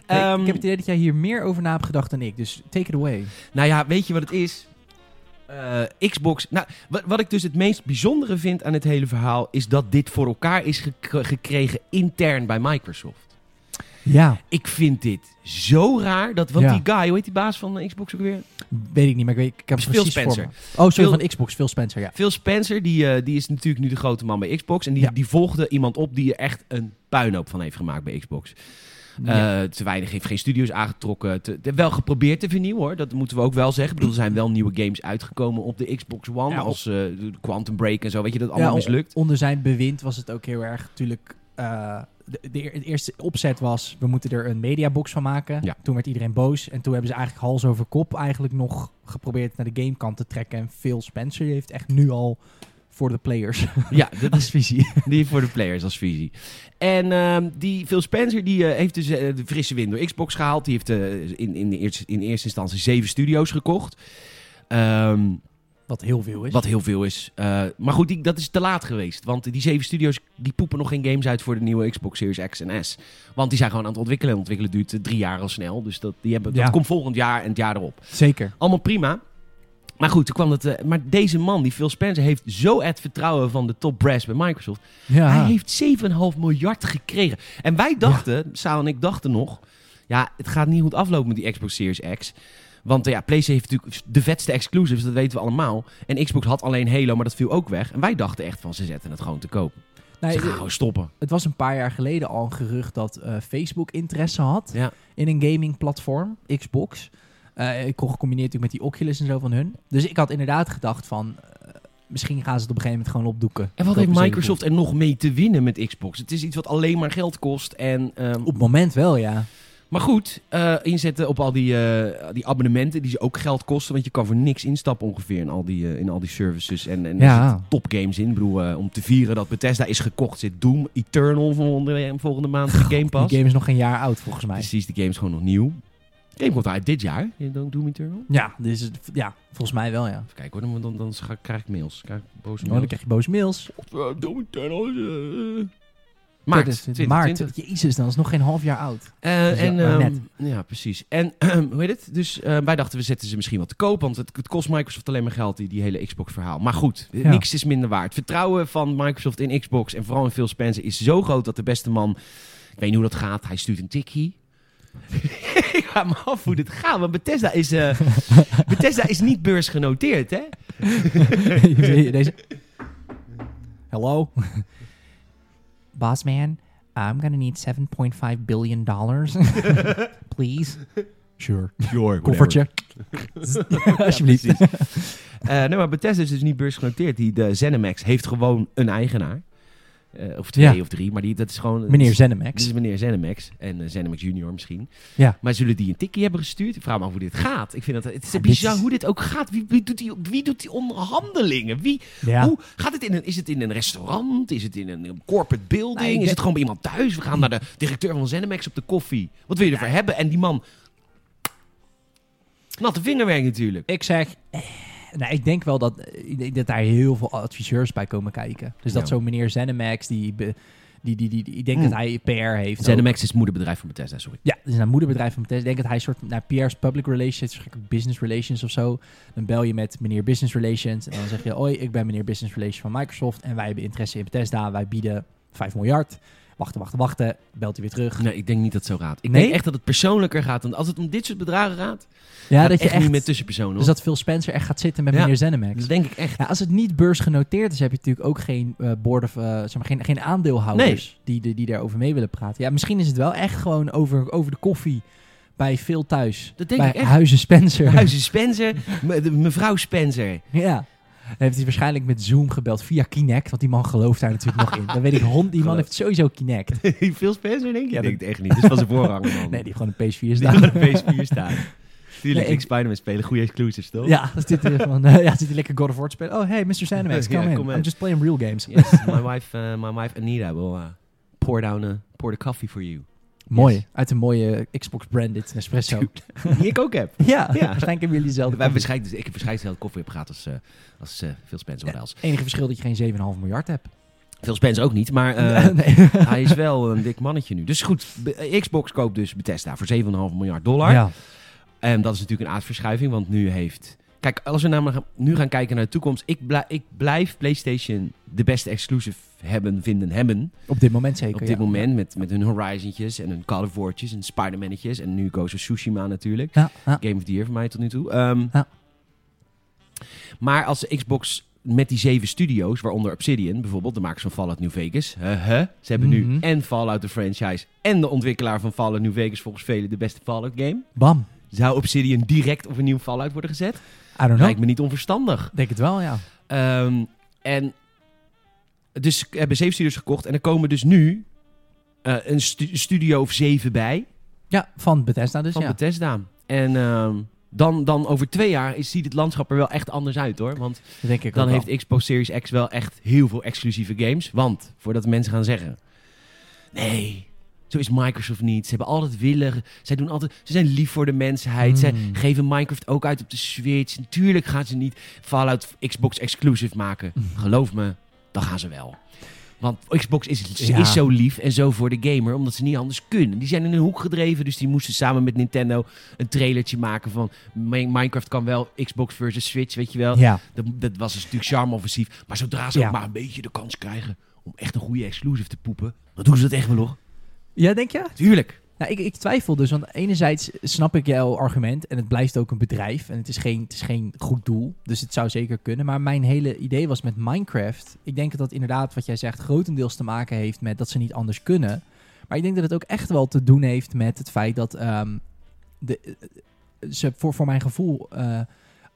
S2: Hey,
S1: Ehm,
S2: ik heb het idee dat jij hier meer over na hebt gedacht dan ik, dus take it away.
S1: Nou ja, weet je wat het is? Eh, Xbox. Nou, wat, wat ik dus het meest bijzondere vind aan het hele verhaal is dat dit voor elkaar is gek- gekregen intern bij Microsoft.
S2: Ja,
S1: Ik vind dit zo raar dat want
S2: Ja.
S1: die guy, hoe heet die baas van eh, Xbox ook weer?
S2: weet ik niet, maar ik, weet, ik heb het
S1: Phil
S2: precies
S1: Spencer.
S2: voor me. Oh, sorry,
S1: Phil-
S2: van Xbox, Phil Spencer, ja.
S1: Phil Spencer, die, eh, die is natuurlijk nu de grote man bij Xbox en die,
S2: Ja.
S1: die volgde iemand op die er echt een puinhoop van heeft gemaakt bij Xbox. Eh,
S2: Ja.
S1: Te weinig heeft geen studios aangetrokken. Te, te- wel geprobeerd te vernieuwen hoor. Dat moeten we ook wel zeggen. Ik bedoel, er zijn wel nieuwe games uitgekomen op de Xbox One.
S2: Ja, op-
S1: als eh, de Quantum Break en zo. Weet je dat allemaal
S2: Ja, on-
S1: mislukt?
S2: Onder zijn bewind was het ook heel erg natuurlijk. eh, de, de, eer- de eerste opzet was, we moeten er een mediabox van maken.
S1: Ja.
S2: Toen werd iedereen boos. En toen hebben ze eigenlijk hals over kop eigenlijk nog geprobeerd naar de gamekant te trekken. En Phil Spencer heeft echt nu al voor de players
S1: Ja, dat
S2: als visie.
S1: Die voor de players als visie. En ehm, die Phil Spencer die, eh, heeft dus eh, de frisse wind door Xbox gehaald. Die heeft eh, in, in, de eerste, in eerste instantie zeven studio's gekocht. Ehm,
S2: Wat heel veel is.
S1: wat heel veel is. Eh, maar goed, die, dat is te laat geweest. Want die zeven studio's die poepen nog geen games uit voor de nieuwe Xbox Series X en S. Want die zijn gewoon aan het ontwikkelen. En ontwikkelen duurt eh, drie jaar al snel. Dus dat, die hebben,
S2: Ja.
S1: dat komt volgend jaar en het jaar erop.
S2: Zeker.
S1: Allemaal prima. Maar goed, toen kwam het. eh, maar deze man, die Phil Spencer, heeft zo het vertrouwen van de top brass bij Microsoft.
S2: Ja.
S1: Hij heeft 7,5 miljard gekregen. En wij dachten, Saal en ik dachten nog... Ja, het gaat niet goed aflopen met die Xbox Series X. Want eh, ja, PlayStation heeft natuurlijk de vetste exclusives, dat weten we allemaal. En Xbox had alleen Halo, maar dat viel ook weg. En wij dachten echt van, ze zetten het gewoon te koop.
S2: Nee, eh,
S1: ze gaan gewoon stoppen.
S2: het was een paar jaar geleden al een gerucht dat eh, Facebook interesse had
S1: Ja.
S2: in een gamingplatform, Xbox. Eh, ik kon gecombineerd natuurlijk met die Oculus en zo van hun. Dus ik had inderdaad gedacht van, eh, misschien gaan ze het op een gegeven moment gewoon opdoeken.
S1: En wat
S2: Kopen
S1: heeft
S2: ze
S1: Microsoft er nog mee te winnen met Xbox? Het is iets wat alleen maar geld kost. En, ehm,
S2: even- Op het moment wel, ja.
S1: Maar goed, eh, inzetten op al die, eh, die abonnementen die ze ook geld kosten. Want je kan voor niks instappen ongeveer in al die, eh, in al die services. En, en
S2: Ja.
S1: er zitten topgames in. Ik bedoel, eh, om te vieren dat Bethesda is gekocht zit Doom Eternal volgende, eh, volgende maand in Game Pass.
S2: Oh, Die game is nog geen jaar oud volgens mij.
S1: Precies, die game is gewoon nog nieuw. De game komt uit dit jaar, eh, Doom Eternal.
S2: Ja, dus, het- ja, volgens mij wel, ja.
S1: Even kijken hoor, dan, dan, dan scha- krijg ik mails. Krijg ik boze
S2: Oh, dan
S1: mails.
S2: krijg je boze mails.
S1: Eh, Doom Eternal is... eh, eh.
S2: Maar
S1: Maart, 2020.
S2: Maart. Jezus, dan is het nog geen half jaar oud.
S1: Eh,
S2: Dus ja,
S1: en, ehm,
S2: maar net.
S1: Ja, precies. En hoe heet het? Dus eh, wij dachten, we zetten ze misschien wat te koop. Want het, het kost Microsoft alleen maar geld, die, die hele Xbox-verhaal. Maar goed, eh,
S2: Ja.
S1: niks is minder waard. Vertrouwen van Microsoft in Xbox en vooral in Phil Spencer is zo groot dat de beste man... Ik weet niet hoe dat gaat. Hij stuurt een tikkie. ik ga me af hoe dit gaat. Want Bethesda is, eh, Bethesda is niet beursgenoteerd, hè?
S2: Deze... Hello?
S3: Boss man, I'm gonna need 7.5 billion dollars. Please.
S2: Sure.
S1: Sure,
S2: Koffertje. Alsjeblieft.
S1: Eh, nee, maar Bethesda is dus niet beursgenoteerd. Die de ZeniMax heeft gewoon een eigenaar. Eh, of twee
S2: Ja.
S1: of drie, maar die, dat is gewoon...
S2: Meneer
S1: Dit
S2: Zenimax.
S1: is meneer Zenimax en eh Zenimax junior misschien.
S2: Ja.
S1: Maar zullen die een tikkie hebben gestuurd? Ik vraag me af hoe dit gaat. Ik vind dat het is
S2: Ja, dit
S1: bizar
S2: is-
S1: hoe dit ook gaat. Wie, wie, doet, die, wie doet die onderhandelingen? Wie,
S2: Ja.
S1: hoe, gaat het in een, is het in een restaurant? Is het in een een corporate building?
S2: Nee, Mm.
S1: is
S2: ik denk-
S1: het gewoon bij iemand thuis? We gaan naar de directeur van Zenimax op de koffie. Wat wil je ervoor hebben? En die man... Natte vingerwerk natuurlijk.
S2: Ik zeg... eh, Nou, ik denk wel dat, eh, ik denk dat daar heel veel adviseurs bij komen kijken. Dus dat
S1: Ja.
S2: zo'n meneer Zenimax, die, be- die, die, die, die- ik denk
S1: Mm.
S2: dat hij PR heeft. ook.
S1: Zenimax is het moederbedrijf van Bethesda, sorry.
S2: Ja, dus naar moederbedrijf van Bethesda. Ik denk dat hij een soort naar PR's public relations, gek, business relations of zo. Dan bel je met meneer business relations en dan zeg je, oi, ik ben meneer business relations van Microsoft en wij hebben interesse in Bethesda. Wij bieden 5 miljard. Wachten, wachten, wachten. Belt hij weer terug.
S1: Nee, ik denk niet dat het zo gaat. Ik
S2: Nee?
S1: denk echt dat het persoonlijker gaat. Want als het om dit soort bedragen gaat,
S2: Ja,
S1: gaat
S2: dat je
S1: echt,
S2: echt,
S1: niet meer tussenpersonen.
S2: dus
S1: hoor.
S2: dat Phil Spencer echt gaat zitten met
S1: Ja.
S2: meneer Zenimax.
S1: dat denk ik echt.
S2: Ja, Nou, als het niet beursgenoteerd is, heb je natuurlijk ook geen eh board of, eh, zeg maar, geen, geen aandeelhouders die, die, die daarover mee willen praten. Ja, misschien is het wel echt gewoon over, over de koffie bij Phil thuis.
S1: Dat denk
S2: bij
S1: ik echt.
S2: Huizen Spencer.
S1: Huizen Spencer, me- de- mevrouw Spencer.
S2: Ja. Dan heeft hij waarschijnlijk met Zoom gebeld via Kinect. Want die man gelooft daar natuurlijk nog in. Dan weet ik, hond, die man heeft sowieso Kinect.
S1: Phil Spencer, denk je? Ja,
S2: Ja, dat-
S1: denk ik echt niet. Dit is van zijn voorganger, man.
S2: Nee,
S1: die
S2: die gewoon een PS4 is
S1: is op
S2: daar.
S1: de PS4 staan.
S2: Nee,
S1: Tuurlijk,
S2: ik-
S1: ik Spider-Man spelen. Goede exclusives, toch?
S2: Ja, dan zit hij van, eh, ja, zit hij lekker God of War te spelen. Oh, hey, Mr. Sandemax,
S1: Ja,
S2: come in.
S1: kom in.
S2: I'm just playing real games.
S1: Yes, my wife, eh, my wife Anita will eh, pour down a, pour the coffee for you.
S2: Mooi.
S1: Yes.
S2: Uit een mooie Xbox-branded Nespresso.
S1: Die ik ook heb.
S2: Ja,
S1: Ja.
S2: waarschijnlijk hebben jullie
S1: Wij
S2: dezelfde
S1: hebben
S2: koffie.
S1: waarschijnlijk, dus ik heb waarschijnlijk zelf koffie opgehaald als, eh, als eh, Phil Spencer
S2: Ja.
S1: wat else.
S2: enige verschil dat je geen 7,5 miljard hebt.
S1: Phil Spence ook niet, maar eh,
S2: nee.
S1: hij is wel een dik mannetje nu. Dus goed, Be- Xbox koopt dus Bethesda voor 7,5 miljard dollar.
S2: Ja.
S1: En Ehm, dat is natuurlijk een aardverschuiving, want nu heeft... Kijk, als we namelijk gaan- nu gaan kijken naar de toekomst... Ik, blij- ik blijf PlayStation de beste exclusive hebben, vinden, hebben.
S2: Op dit moment zeker.
S1: Op dit
S2: ja.
S1: moment met, met hun Horizontjes en hun Call of Wartjes en Spider-Mannetjes. En nu Ghost of Tsushima natuurlijk.
S2: Ja, ja.
S1: Game of the Year voor mij tot nu toe. Ehm,
S2: Ja.
S1: Maar als de Xbox met die zeven studio's, waaronder Obsidian bijvoorbeeld, de makers van Fallout New Vegas. huh, huh, Ze hebben nu
S2: Mhm.
S1: en Fallout de franchise en de ontwikkelaar van Fallout New Vegas volgens velen de beste Fallout game.
S2: Bam.
S1: Zou Obsidian direct op een nieuw Fallout worden gezet?
S2: I don't know.
S1: Lijkt me niet onverstandig.
S2: Denk het wel, ja.
S1: Ehm, en dus ze hebben zeven studios gekocht en er komen dus nu eh, een stu- studio of zeven bij
S2: Ja, van Bethesda dus,
S1: van
S2: ja.
S1: Bethesda. En ehm, dan, dan over twee jaar is, ziet het landschap er wel echt anders uit hoor. Want
S2: Dat denk ik
S1: dan
S2: ook wel.
S1: heeft Xbox Series X wel echt heel veel exclusieve games. Want, voordat mensen gaan zeggen... Nee, zo is Microsoft niet. Ze hebben altijd willen... Zij doen altijd, ze zijn lief voor de mensheid. Ze
S2: Mm.
S1: geven Minecraft ook uit op de Switch. Natuurlijk gaan ze niet Fallout Xbox exclusive maken. Geloof me, dan gaan ze wel. Want Xbox is, ze
S2: Ja.
S1: is zo lief en zo voor de gamer, omdat ze niet anders kunnen. Die zijn in een hoek gedreven, dus die moesten samen met Nintendo een trailertje maken van... "Mijn- Minecraft kan wel, Xbox versus Switch, weet je wel.
S2: Ja.
S1: Dat, dat was dus natuurlijk charme-offensief. Maar zodra ze
S2: Ja.
S1: ook maar een beetje de kans krijgen om echt een goede exclusive te poepen, dan doen ze dat echt wel hoor.
S2: Ja, denk je?
S1: Tuurlijk.
S2: Nou, ik, ik twijfel dus, want enerzijds snap ik jouw argument en het blijft ook een bedrijf en het is, geen, het is geen goed doel, dus het zou zeker kunnen. Maar mijn hele idee was met Minecraft, ik denk dat dat inderdaad wat jij zegt grotendeels te maken heeft met dat ze niet anders kunnen. Maar ik denk dat het ook echt wel te doen heeft met het feit dat ehm, de, eh, ze voor, voor mijn gevoel eh,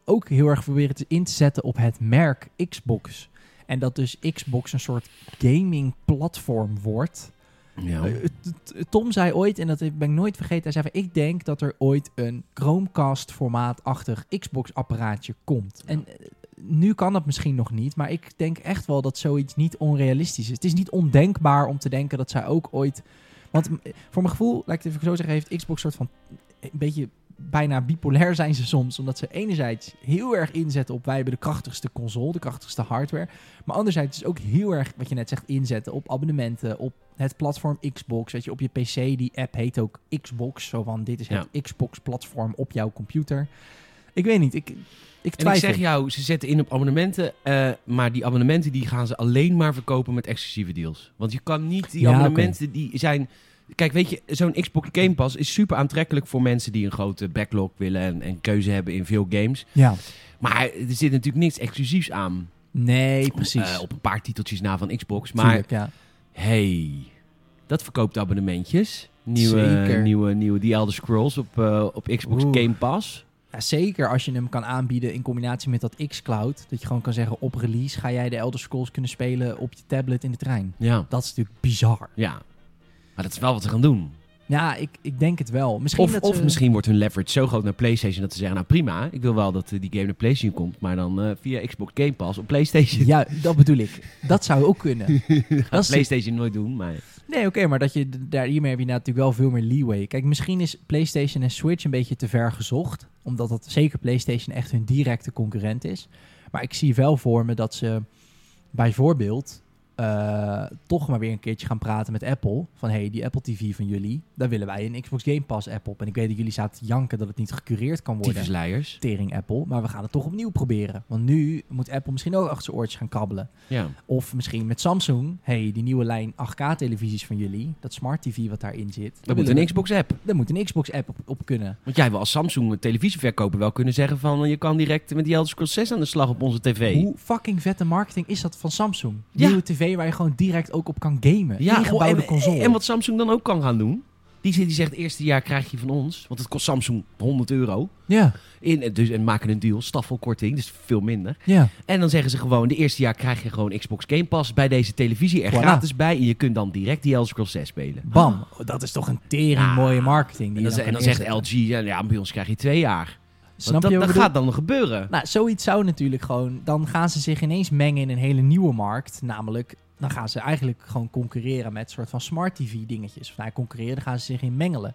S2: ook heel erg proberen te in te zetten op het merk Xbox. En dat dus Xbox een soort gaming platform wordt.
S1: Ja.
S2: Eh, t- t- Tom zei ooit, en dat ben ik nooit vergeten, hij zei van, ik denk dat er ooit een Chromecast-formaatachtig Xbox-apparaatje komt. En eh, nu kan dat misschien nog niet, maar ik denk echt wel dat zoiets niet onrealistisch is. Het is niet ondenkbaar om te denken dat zij ook ooit... Want eh, voor mijn gevoel, laat ik het even zo zeggen, heeft Xbox soort van eh, een beetje bijna bipolair zijn ze soms. Omdat ze enerzijds heel erg inzetten op wij hebben de krachtigste console, de krachtigste hardware. Maar anderzijds is ook heel erg, wat je net zegt, inzetten op abonnementen, op het platform Xbox. Weet je, op je PC, die app heet ook Xbox. Zo van, dit is het Xbox-platform op jouw computer. Ik weet niet, ik, ik
S1: En ik
S2: twijfel.
S1: zeg jou, ze zetten in op abonnementen, eh, maar die abonnementen die gaan ze alleen maar verkopen met exclusieve deals. Want je kan niet die
S2: Ja, oké.
S1: abonnementen die zijn... Kijk, weet je, zo'n Xbox Game Pass is super aantrekkelijk voor mensen die een grote backlog willen en, en keuze hebben in veel games.
S2: Ja,
S1: Maar er zit natuurlijk niks exclusiefs aan.
S2: nee, precies.
S1: Eh, op een paar titeltjes na van Xbox. Maar
S2: Tuurlijk, ja.
S1: hey, dat verkoopt abonnementjes. Nieuwe,
S2: Zeker.
S1: nieuwe, nieuwe The Elder Scrolls op, eh, op Xbox
S2: Oeh.
S1: Game Pass.
S2: Ja, zeker als je hem kan aanbieden in combinatie met dat X-Cloud. Dat je gewoon kan zeggen, op release ga jij de Elder Scrolls kunnen spelen op je tablet in de trein.
S1: Ja,
S2: Dat is natuurlijk bizar.
S1: ja. Maar dat is wel wat ze gaan doen.
S2: Ja, ik, ik denk het wel. Misschien
S1: Of,
S2: dat
S1: of
S2: ze-
S1: misschien wordt hun leverage zo groot naar PlayStation dat ze zeggen: Nou prima, ik wil wel dat eh, die game naar PlayStation komt, maar dan eh, via Xbox Game Pass op PlayStation.
S2: Ja, dat bedoel ik. Dat zou ook kunnen.
S1: dat
S2: is-
S1: PlayStation nooit doen, maar
S2: Nee, oké, maar dat je, d- daar, hiermee heb je natuurlijk wel veel meer leeway. Kijk, misschien is PlayStation en Switch een beetje te ver gezocht. Omdat dat zeker PlayStation echt hun directe concurrent is. Maar ik zie wel voor me dat ze bijvoorbeeld eh, toch maar weer een keertje gaan praten met Apple. Van hey, die Apple TV van jullie, daar willen wij een Xbox Game Pass app op. En ik weet dat jullie zaten te janken dat het niet gecureerd kan worden.
S1: tyfusleiers.
S2: Tering Apple, maar we gaan het toch opnieuw proberen. Want nu moet Apple misschien ook achter zijn oortjes gaan kabbelen.
S1: Ja.
S2: Of misschien met Samsung. hey, die nieuwe lijn 8K-televisies van jullie. Dat smart TV wat daarin zit.
S1: Dat moet
S2: willen
S1: een
S2: we-
S1: Xbox-app.
S2: Daar moet een Xbox-app op, op kunnen.
S1: Want jij wil als Samsung een televisieverkoper wel kunnen zeggen: van eh, je kan direct met die Elder Scrolls 6 aan de slag op onze tv.
S2: Hoe fucking vette marketing is dat van Samsung?
S1: Ja.
S2: Nieuwe tv waar je gewoon direct ook op kan gamen.
S1: Ja,
S2: Ingebouwde
S1: oh, en,
S2: console.
S1: En wat Samsung dan ook kan gaan doen. Die, zit- die zegt, eerste jaar krijg je van ons. Want het kost Samsung 100 euro.
S2: Ja,
S1: In, en dus, en maken een deal, staffelkorting, dus veel minder.
S2: ja.
S1: En dan zeggen ze gewoon, de eerste jaar krijg je gewoon Xbox Game Pass bij deze televisie er
S2: Voilà.
S1: gratis bij. En je kunt dan direct die Elder Scrolls 6 spelen.
S2: Bam. Oh, Dat is toch een tering
S1: Ja.
S2: mooie marketing.
S1: Ah.
S2: Die
S1: En
S2: je
S1: dan, en
S2: kan
S1: dan zegt
S2: inzetten.
S1: LG, ja, ja, bij ons krijg je twee jaar.
S2: Snap
S1: dat
S2: je wat
S1: dat
S2: ik bedoel?
S1: gaat dan gebeuren.
S2: Nou, zoiets zou natuurlijk gewoon... Dan gaan ze zich ineens mengen in een hele nieuwe markt. Namelijk, dan gaan ze eigenlijk gewoon concurreren met soort van smart TV dingetjes. Of nou, concurreren, daar gaan ze zich in mengelen.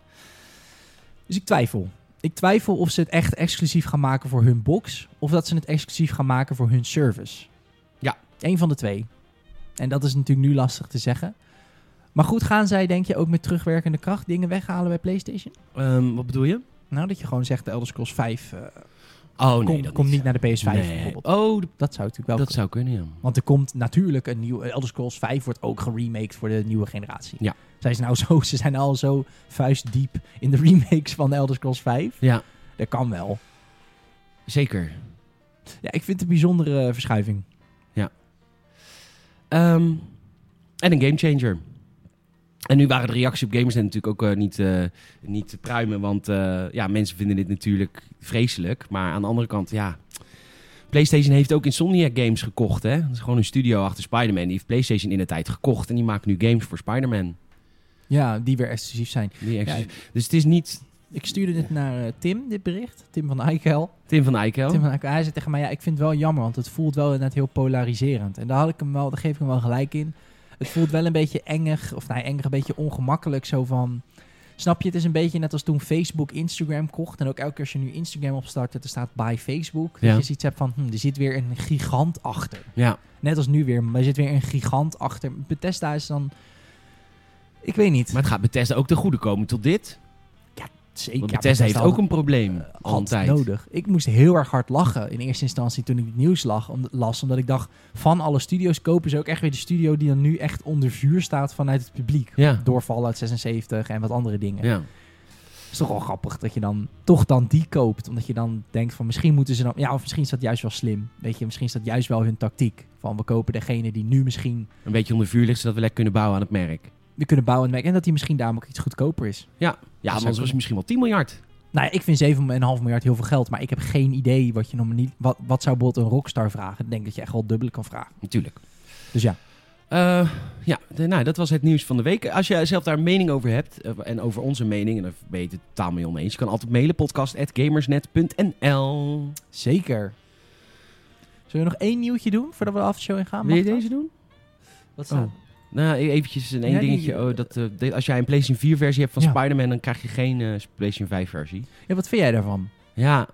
S2: Dus ik twijfel. Ik twijfel of ze het echt exclusief gaan maken voor hun box. Of dat ze het exclusief gaan maken voor hun service.
S1: Ja.
S2: Eén van de twee. En dat is natuurlijk nu lastig te zeggen. Maar goed, gaan zij denk je ook met terugwerkende kracht dingen weghalen bij PlayStation?
S1: Ehm, wat bedoel je?
S2: Nou, dat je gewoon zegt de Elder Scrolls 5 eh,
S1: Oh nee,
S2: komt
S1: dat
S2: komt niet naar de PS5
S1: Nee.
S2: bijvoorbeeld.
S1: Oh, d-
S2: Dat zou natuurlijk
S1: dat
S2: wel kunnen.
S1: zou kunnen, ja.
S2: Want er komt natuurlijk een nieuw... eh, Elder Scrolls 5 wordt ook geremaked voor de nieuwe generatie.
S1: Ja.
S2: Zijn ze, nou zo, ze zijn al zo vuistdiep in de remakes van Elder Scrolls 5.
S1: Ja,
S2: Dat kan wel.
S1: zeker.
S2: Ja, ik vind het een bijzondere eh, verschuiving.
S1: Ehm, en een gamechanger. En nu waren de reacties op gamers natuurlijk ook eh, niet, eh, niet te pruimen. Want eh, ja, mensen vinden dit natuurlijk vreselijk. Maar aan de andere kant, ja... PlayStation heeft ook Insomniac Games gekocht, hè? Dat is gewoon een studio achter Spider-Man. Die heeft PlayStation in de tijd gekocht. En die maakt nu games voor Spider-Man.
S2: Ja, die weer exclusief zijn.
S1: Die
S2: Ja,
S1: ex- Dus het is niet
S2: ik stuurde dit naar eh, Tim, dit bericht. Tim van Eikel.
S1: Tim van Eikel.
S2: Tim van Eikel, hij zei tegen mij, ja, ik vind het wel jammer, want het voelt wel inderdaad heel polariserend. En daar, had ik hem wel, daar geef ik hem wel gelijk in. Het voelt wel een beetje engig, of nee, engig, een beetje ongemakkelijk, zo van... Snap je, het is een beetje net als toen Facebook Instagram kocht. En ook elke keer als je nu Instagram opstart, dat er staat by Facebook. Dat
S1: Ja.
S2: je zoiets hebt van, hm, er zit weer een gigant achter.
S1: Ja,
S2: Net als nu weer, maar er zit weer een gigant achter. Bethesda is dan... Ik weet niet.
S1: maar het gaat Bethesda ook ten goede komen tot dit.
S2: Zeker,
S1: Want
S2: ja,
S1: Bethesda heeft
S2: had
S1: ook een probleem.
S2: eh, had
S1: altijd.
S2: nodig. Ik moest heel erg hard lachen in eerste instantie toen ik het nieuws lag, om, las. Omdat ik dacht, van alle studio's kopen ze ook echt weer de studio die dan nu echt onder vuur staat vanuit het publiek.
S1: Ja,
S2: Door Fallout 76 en wat andere dingen.
S1: ja.
S2: Het is toch wel grappig dat je dan toch dan die koopt. Omdat je dan denkt van misschien moeten ze dan... Ja, of misschien is dat juist wel slim. Weet je, misschien is dat juist wel hun tactiek. Van we kopen degene die nu misschien
S1: Een beetje onder vuur ligt, zodat we lekker kunnen bouwen aan het merk.
S2: we kunnen bouwen en werken. En dat die misschien daarom ook iets goedkoper is.
S1: Ja,
S2: zou
S1: anders was
S2: kunnen.
S1: het misschien wel 10 miljard.
S2: Nou, ja, ik vind 7,5 miljard heel veel geld, maar ik heb geen idee wat je nog niet. Wat, wat zou bijvoorbeeld een rockstar vragen? Ik denk dat je echt wel het dubbele kan vragen.
S1: Natuurlijk.
S2: Dus ja,
S1: Eh, ja, de- nou, dat was het nieuws van de week. Als jij zelf daar een mening over hebt eh, en over onze mening, en daar ben je het totaal mee oneens, je kan altijd mailen podcast.gamersnet.nl.
S2: zeker. Zullen we nog één nieuwtje doen voordat we de aftershow ingaan?
S1: Wil je
S2: Ah, Mag dat?
S1: deze doen?
S2: Wat staat?
S1: Oh. Nou, e- eventjes een één
S2: Ja, die-
S1: dingetje. oh, dat, eh, de- als jij een PlayStation 4 versie hebt van
S2: Ja.
S1: Spider-Man, dan krijg je geen eh, PlayStation 5 versie.
S2: Ja, wat vind jij daarvan?
S1: Ja,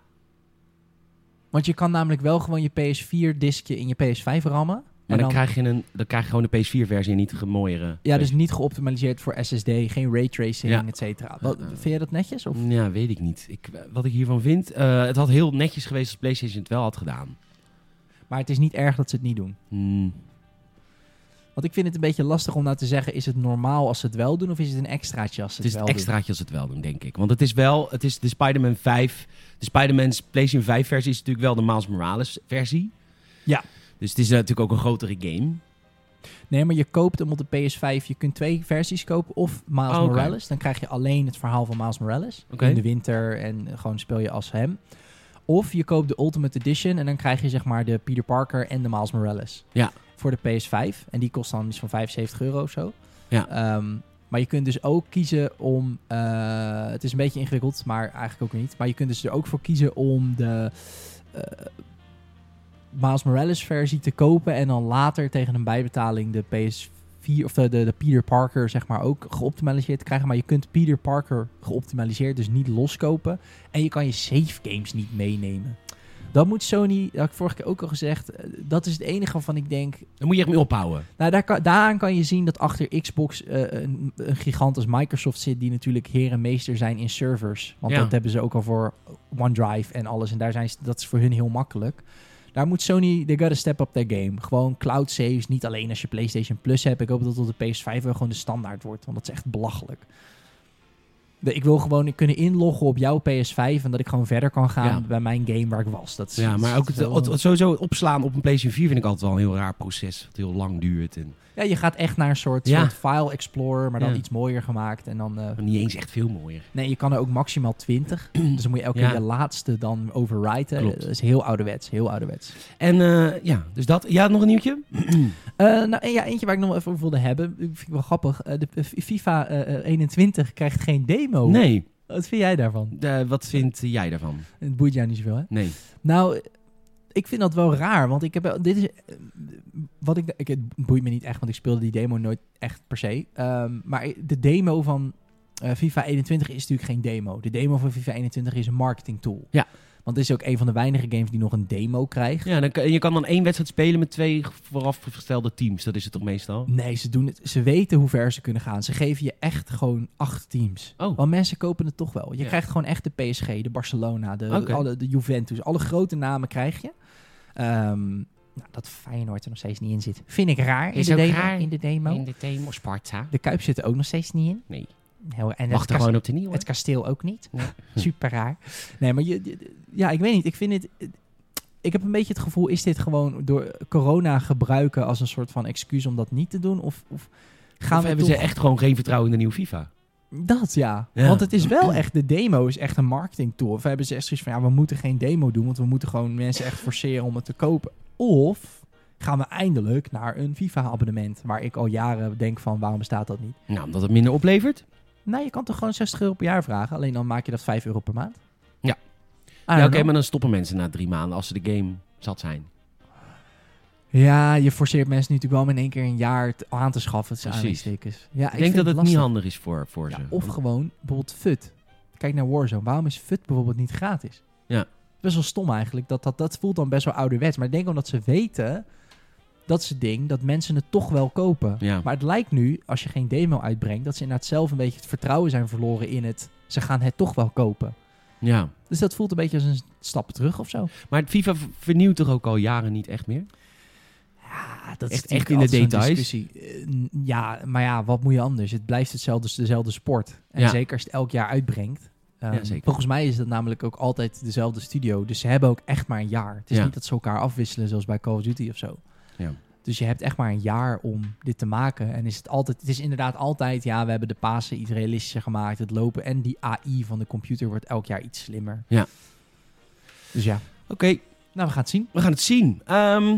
S2: Want je kan namelijk wel gewoon je PS4-diskje in je PS5 rammen.
S1: maar dan,
S2: en dan-
S1: krijg je een, dan krijg je gewoon de PS4 versie en niet de mooiere.
S2: Ja, dus niet geoptimaliseerd voor SSD, geen raytracing,
S1: Ja.
S2: et cetera. Wat-
S1: Ja.
S2: Vind jij dat netjes? Of?
S1: Ja, weet ik niet. Ik, wat ik hiervan vind, eh, het had heel netjes geweest als PlayStation het wel had gedaan.
S2: Maar het is niet erg dat ze het niet doen.
S1: Hmm.
S2: Want ik vind het een beetje lastig om nou te zeggen, is het normaal als ze het wel doen of is het een extraatje als ze
S1: Het
S2: het,
S1: is het
S2: wel doen?
S1: extraatje als ze het wel doen, denk ik. Want het is wel, het is de Spider-Man 5. De Spider-Man's PlayStation 5 versie is natuurlijk wel de Miles Morales versie.
S2: Ja.
S1: Dus het is natuurlijk ook een grotere game.
S2: Nee, maar je koopt hem op de PS5. Je kunt twee versies kopen. Of Miles
S1: Oh, oké.
S2: Morales. Dan krijg je alleen het verhaal van Miles Morales.
S1: Oké.
S2: In de winter en eh, gewoon speel je als hem. Of je koopt de Ultimate Edition en dan krijg je zeg maar de Peter Parker en de Miles Morales.
S1: Ja.
S2: Voor de PS5. En die kost dan iets van 75 euro of zo.
S1: Ja.
S2: Ehm, maar je kunt dus ook kiezen om... eh, het is een beetje ingewikkeld, maar eigenlijk ook niet. Maar je kunt dus er ook voor kiezen om de... eh, Miles Morales versie te kopen en dan later tegen een bijbetaling de PS4 of de, de, de Peter Parker zeg maar ook geoptimaliseerd te krijgen. Maar je kunt Peter Parker geoptimaliseerd dus niet loskopen en je kan je save games niet meenemen. Dat moet Sony, dat had ik vorige keer ook al gezegd, eh, dat is het enige waarvan ik denk,
S1: Daar moet je echt mee ophouden.
S2: nou, daar kan, daaraan kan je zien dat achter Xbox eh, een, een gigant als Microsoft zit, die natuurlijk heer en meester zijn in servers. Want
S1: Ja.
S2: dat hebben ze ook al voor OneDrive en alles. En daar zijn, ze- dat is voor hun heel makkelijk. Daar moet Sony, they gotta step up their game. Gewoon cloud saves, niet alleen als je PlayStation Plus hebt. Ik hoop dat dat op de PS5 wel gewoon de standaard wordt, want dat is echt belachelijk. De- Ik wil gewoon kunnen inloggen op jouw PS5 en dat ik gewoon verder kan gaan
S1: Ja.
S2: bij mijn game waar ik was. Dat is,
S1: Ja, maar
S2: dat
S1: ook
S2: is
S1: het,
S2: wel-
S1: het- het sowieso het opslaan op een PlayStation 4 vind ik altijd wel een heel raar proces. Wat heel lang duurt en
S2: Ja, je gaat echt naar een soort,
S1: Ja.
S2: soort file explorer, maar dan
S1: Ja.
S2: iets mooier gemaakt. En dan, eh,
S1: niet eens echt veel mooier.
S2: nee, je kan er ook maximaal 20. dus dan moet je elke
S1: Ja.
S2: keer je laatste dan overriden.
S1: Klopt.
S2: Dat is heel ouderwets, heel ouderwets.
S1: En eh, ja, dus dat. Ja, nog een nieuwtje?
S2: Eh, nou, en ja, eentje waar ik nog wel even over wilde hebben. Ik vind ik wel grappig. Eh, de eh, FIFA eh, eh, 21 krijgt geen demo.
S1: Nee.
S2: Wat vind jij daarvan?
S1: Eh, wat vind jij daarvan?
S2: Het boeit jou niet zoveel, hè?
S1: Nee.
S2: Nou, ik vind dat wel raar, want ik heb wel- dit is eh, wat ik, ik het boeit me niet echt, want ik speelde die demo nooit echt per se. Ehm, maar de demo van eh, FIFA 21 is natuurlijk geen demo. De demo van FIFA 21 is een marketing tool.
S1: Ja.
S2: Want het is ook een van de weinige games die nog een demo krijgt.
S1: Ja, dan, kan- je kan dan één wedstrijd spelen met twee voorafgestelde teams. Dat is het toch meestal?
S2: Nee, ze doen het. Ze weten hoe ver ze kunnen gaan. Ze geven je echt gewoon acht teams.
S1: Oh.
S2: Want mensen kopen het toch wel. Je
S1: Ja.
S2: krijgt gewoon echt de PSG, de Barcelona, de,
S1: Oké.
S2: alle, de Juventus. Alle grote namen krijg je. Ehm,
S3: Nou, dat Feyenoord er nog steeds niet in zit. Vind ik raar. in
S1: Is
S3: de
S1: ook
S3: demo,
S1: raar.
S3: In de demo.
S1: de demo Sparta.
S2: de Kuip zit er ook nog steeds niet in.
S1: Nee,
S3: Heel, en het,
S1: wacht er
S3: kas-
S1: gewoon op de nieuwe.
S3: het kasteel ook niet.
S1: Nee.
S3: Super raar.
S2: Nee, maar je, je- ja, ik weet niet. Ik vind het. Ik heb een beetje het gevoel, is dit gewoon door corona gebruiken als een soort van excuus om dat niet te doen? Of, of gaan
S1: Of
S2: we
S1: hebben
S2: toch-
S1: ze echt gewoon geen vertrouwen in de nieuwe FIFA?
S2: Dat ja.
S1: Ja.
S2: Want het is wel echt, de demo is echt een marketing tool. Of hebben ze echt zoiets van, ja, we moeten geen demo doen, want we moeten gewoon mensen echt forceren om het te kopen. Of gaan we eindelijk naar een FIFA-abonnement, waar ik al jaren denk van, waarom bestaat dat niet?
S1: Nou, omdat het minder oplevert.
S2: Nou, je kan toch gewoon 60 euro per jaar vragen, alleen dan maak je dat 5 euro per maand.
S1: Ja.
S2: I
S1: Ja,
S2: don't
S1: Oké,
S2: know.
S1: maar dan stoppen mensen na drie maanden als ze de game zat zijn.
S2: Ja, je forceert mensen nu natuurlijk wel om in één keer een jaar t- aan te schaffen. Het
S1: Precies.
S2: zijn aanstekers. Ja,
S1: Ik, denk
S2: vind
S1: dat het niet
S2: lastig.
S1: handig is voor, voor
S2: Ja,
S1: ze.
S2: Of gewoon bijvoorbeeld FUT. Kijk naar Warzone. Waarom is FUT bijvoorbeeld niet gratis?
S1: Ja.
S2: Best wel stom eigenlijk. Dat, dat, dat voelt dan best wel ouderwets. Maar ik denk omdat ze weten, dat is het ding, dat mensen het toch wel kopen.
S1: Ja.
S2: Maar het lijkt nu, als je geen demo uitbrengt, dat ze inderdaad zelf een beetje het vertrouwen zijn verloren in het. Ze gaan het toch wel kopen.
S1: ja.
S2: Dus dat voelt een beetje als een stap terug of zo.
S1: Maar het FIFA v- vernieuwt toch ook al jaren niet echt meer?
S2: Ja, dat
S1: Echt- echt
S2: natuurlijk
S1: in de
S2: altijd zo'n
S1: details.
S2: discussie. Eh, n- ja, maar ja, wat moet je anders? Het blijft hetzelfde, dezelfde sport. En
S1: Ja.
S2: zeker als je het elk jaar uitbrengt. Ehm,
S1: Ja, zeker.
S2: Volgens mij is dat namelijk ook altijd dezelfde studio. Dus ze hebben ook echt maar een jaar. Het is
S1: Ja.
S2: niet dat ze elkaar afwisselen zoals bij Call of Duty of zo.
S1: Ja.
S2: Dus je hebt echt maar een jaar om dit te maken. En is het altijd, het is inderdaad altijd, ja, we hebben de Pasen iets realistischer gemaakt. Het lopen en die AI van de computer wordt elk jaar iets slimmer.
S1: Ja.
S2: Dus ja,
S1: Oké,
S2: nou we gaan het zien.
S1: we gaan het zien. Ehm,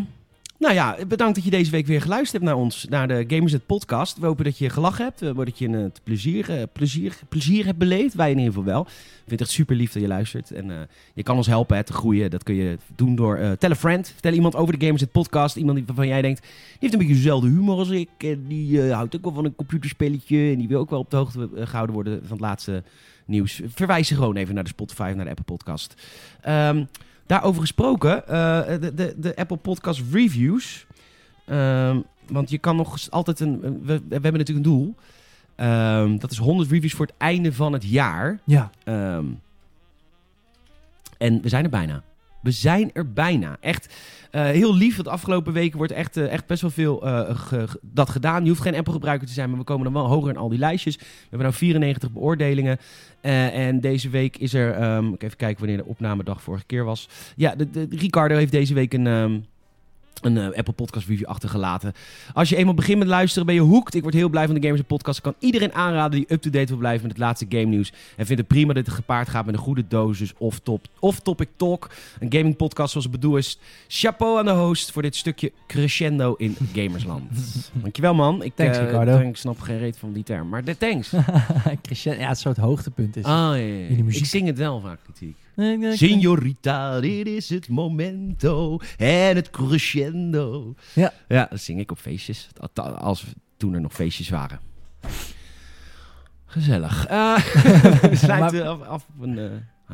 S1: nou ja, bedankt dat je deze week weer geluisterd hebt naar ons, naar de Gamers Net podcast. We hopen dat je gelachen hebt, we hopen dat je het plezier, eh, plezier, plezier hebt beleefd. Wij in ieder geval wel. Ik vind het echt super lief dat je luistert. En eh, je kan ons helpen hè, te groeien. Dat kun je doen door eh tell a friend. Vertel iemand over de Gamers Net podcast. Iemand die- waarvan jij denkt, die heeft een beetje dezelfde humor als ik. En die eh, houdt ook wel van een computerspelletje. En die wil ook wel op de hoogte eh, gehouden worden van het laatste nieuws. Verwijs ze gewoon even naar de Spotify, of naar de Apple podcast. Ehm, Daarover gesproken, eh, de, de, de Apple Podcast Reviews. Ehm, want je kan nog eens altijd een. We, we hebben natuurlijk een doel. Ehm, dat is 100 reviews voor het einde van het jaar.
S2: Ja,
S1: Ehm, en we zijn er bijna. We zijn er bijna. Echt eh, heel lief. Want De afgelopen weken wordt echt, eh, echt best wel veel eh, ge- ge- dat gedaan. Je hoeft geen Apple-gebruiker te zijn, maar we komen dan wel hoger in al die lijstjes. We hebben nou 94 beoordelingen. Eh, en deze week is er... ehm, ik even kijken wanneer de opnamedag vorige keer was. Ja, de, de- Ricardo heeft deze week een... ehm, een eh, Apple Podcast Review achtergelaten. Als je eenmaal begint met luisteren, ben je hooked. Ik word heel blij van de Gamers en Podcast. Ik kan iedereen aanraden die up-to-date wil blijven met het laatste game nieuws. En vindt het prima dat het gepaard gaat met een goede dosis of, top, of topic talk. Een gaming podcast zoals het bedoeld is. Chapeau aan de host voor dit stukje crescendo in Gamersland. Dankjewel man. Ik,
S2: Thanks,
S1: eh,
S2: Ricardo.
S1: Ik snap geen reet van die term. Maar de thanks.
S2: Christian, ja, het soort hoogtepunt is.
S1: Ah, ja, ja, ja.
S2: In de muziek.
S1: Ik zing het wel vaak natuurlijk.
S2: Nee, nee, ik-
S1: Signorita, dit is het momento en het crescendo.
S2: Ja.
S1: ja, dat zing ik op feestjes. Al- Als toen er nog feestjes waren. Gezellig. Eh we sluiten af, af op een eh,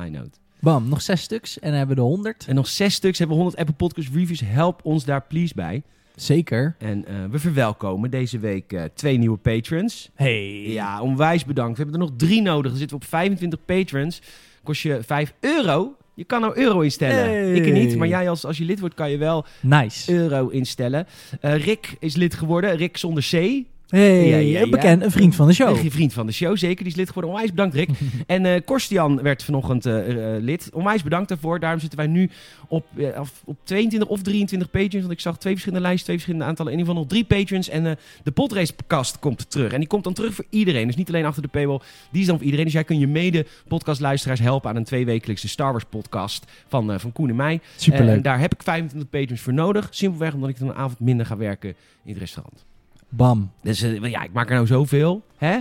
S1: high note.
S2: Bam, nog zes stuks en dan hebben we de 100.
S1: En nog zes stuks hebben we 100 Apple Podcast Reviews. Help ons daar please bij.
S2: Zeker.
S1: En eh, we verwelkomen deze week eh, twee nieuwe patrons.
S2: Hey.
S1: Ja, onwijs bedankt. We hebben er nog drie nodig. Dan zitten we op 25 patrons. Kost je 5 euro. Je kan nou euro instellen.
S2: Hey.
S1: Ik niet, maar jij als, als je lid wordt kan je wel
S2: Nice.
S1: euro instellen. Eh, Rick is lid geworden. Rick zonder C.
S2: hey,
S1: ja, ja, ja.
S2: een bekend, een vriend van de show.
S1: Echt Een vriend van de show, zeker. Die is lid geworden. Onwijs bedankt, Rick. en eh Korstian werd vanochtend eh, eh, lid. Onwijs bedankt daarvoor. Daarom zitten wij nu op, eh, af- op 22 of 23 patrons. Want ik zag twee verschillende lijsten, twee verschillende aantallen. In ieder geval nog drie patrons. En eh, de podracekast komt terug. En die komt dan terug voor iedereen. Dus niet alleen achter de paywall. Die is dan voor iedereen. Dus jij kunt je mede podcastluisteraars helpen aan een tweewekelijkse Star Wars podcast van, eh, van Koen en mij.
S2: Superleuk.
S1: En daar heb ik 25 patrons voor nodig. Simpelweg omdat ik dan een avond minder ga werken in het restaurant.
S2: Bam.
S1: Dus eh, ja, ik maak er nou zoveel. Hè?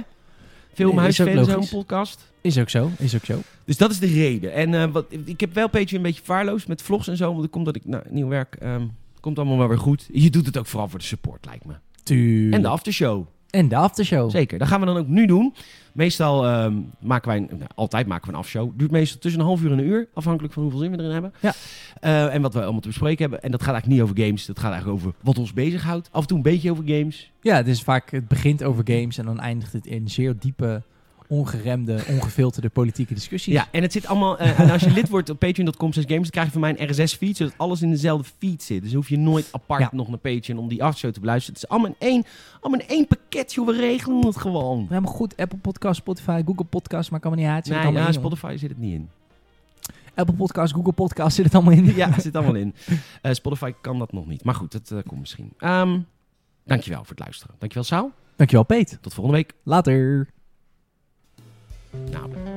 S1: Veel om
S2: Nee,
S1: huis
S2: is ook
S1: velen, zo'n
S2: logisch.
S1: podcast.
S2: Is ook zo, is ook zo.
S1: Dus dat is de reden. En eh, wat, ik heb wel Patreon een beetje vaarloos met vlogs en zo. Want dat komt dat ik nou, nieuw werk. ehm, komt allemaal wel weer goed. Je doet het ook vooral voor de support, lijkt me.
S2: Tuurlijk.
S1: En de aftershow.
S2: En de aftershow.
S1: Zeker, dat gaan we dan ook nu doen. Meestal ehm, maken wij, een, nou, altijd maken we een afshow. Duurt meestal tussen een half uur en een uur, afhankelijk van hoeveel zin we erin hebben.
S2: Ja.
S1: Eh, en wat we allemaal te bespreken hebben. En dat gaat eigenlijk niet over games, dat gaat eigenlijk over wat ons bezighoudt. Af en toe een beetje over games.
S2: Ja, het is vaak, het begint over games en dan eindigt het in zeer diepe, ongeremde, ongefilterde politieke discussies.
S1: Ja, en het zit allemaal, eh, en als je lid wordt op patreon.com slash games, dan krijg je van mij een RSS-feed, zodat alles in dezelfde feed zit. Dus dan hoef je nooit apart
S2: Ja.
S1: nog naar Patreon om die afshow te beluisteren. Het is allemaal in één, allemaal in één pakket, joh, we regelen het gewoon.
S2: Ja, maar goed, Apple Podcast, Spotify, Google Podcast, maar kan me niet uit. zit het
S1: Nee,
S2: allemaal
S1: ja,
S2: in, jongen.
S1: Spotify zit het niet in.
S2: Apple Podcast, Google Podcast, zit het allemaal in.
S1: Ja, het zit allemaal in. Eh, Spotify kan dat nog niet. Maar goed, dat eh, komt misschien. Ehm, dankjewel voor het luisteren. Dankjewel, Saul.
S2: Dankjewel, Peet.
S1: Tot volgende week.
S2: Later.
S1: Nou.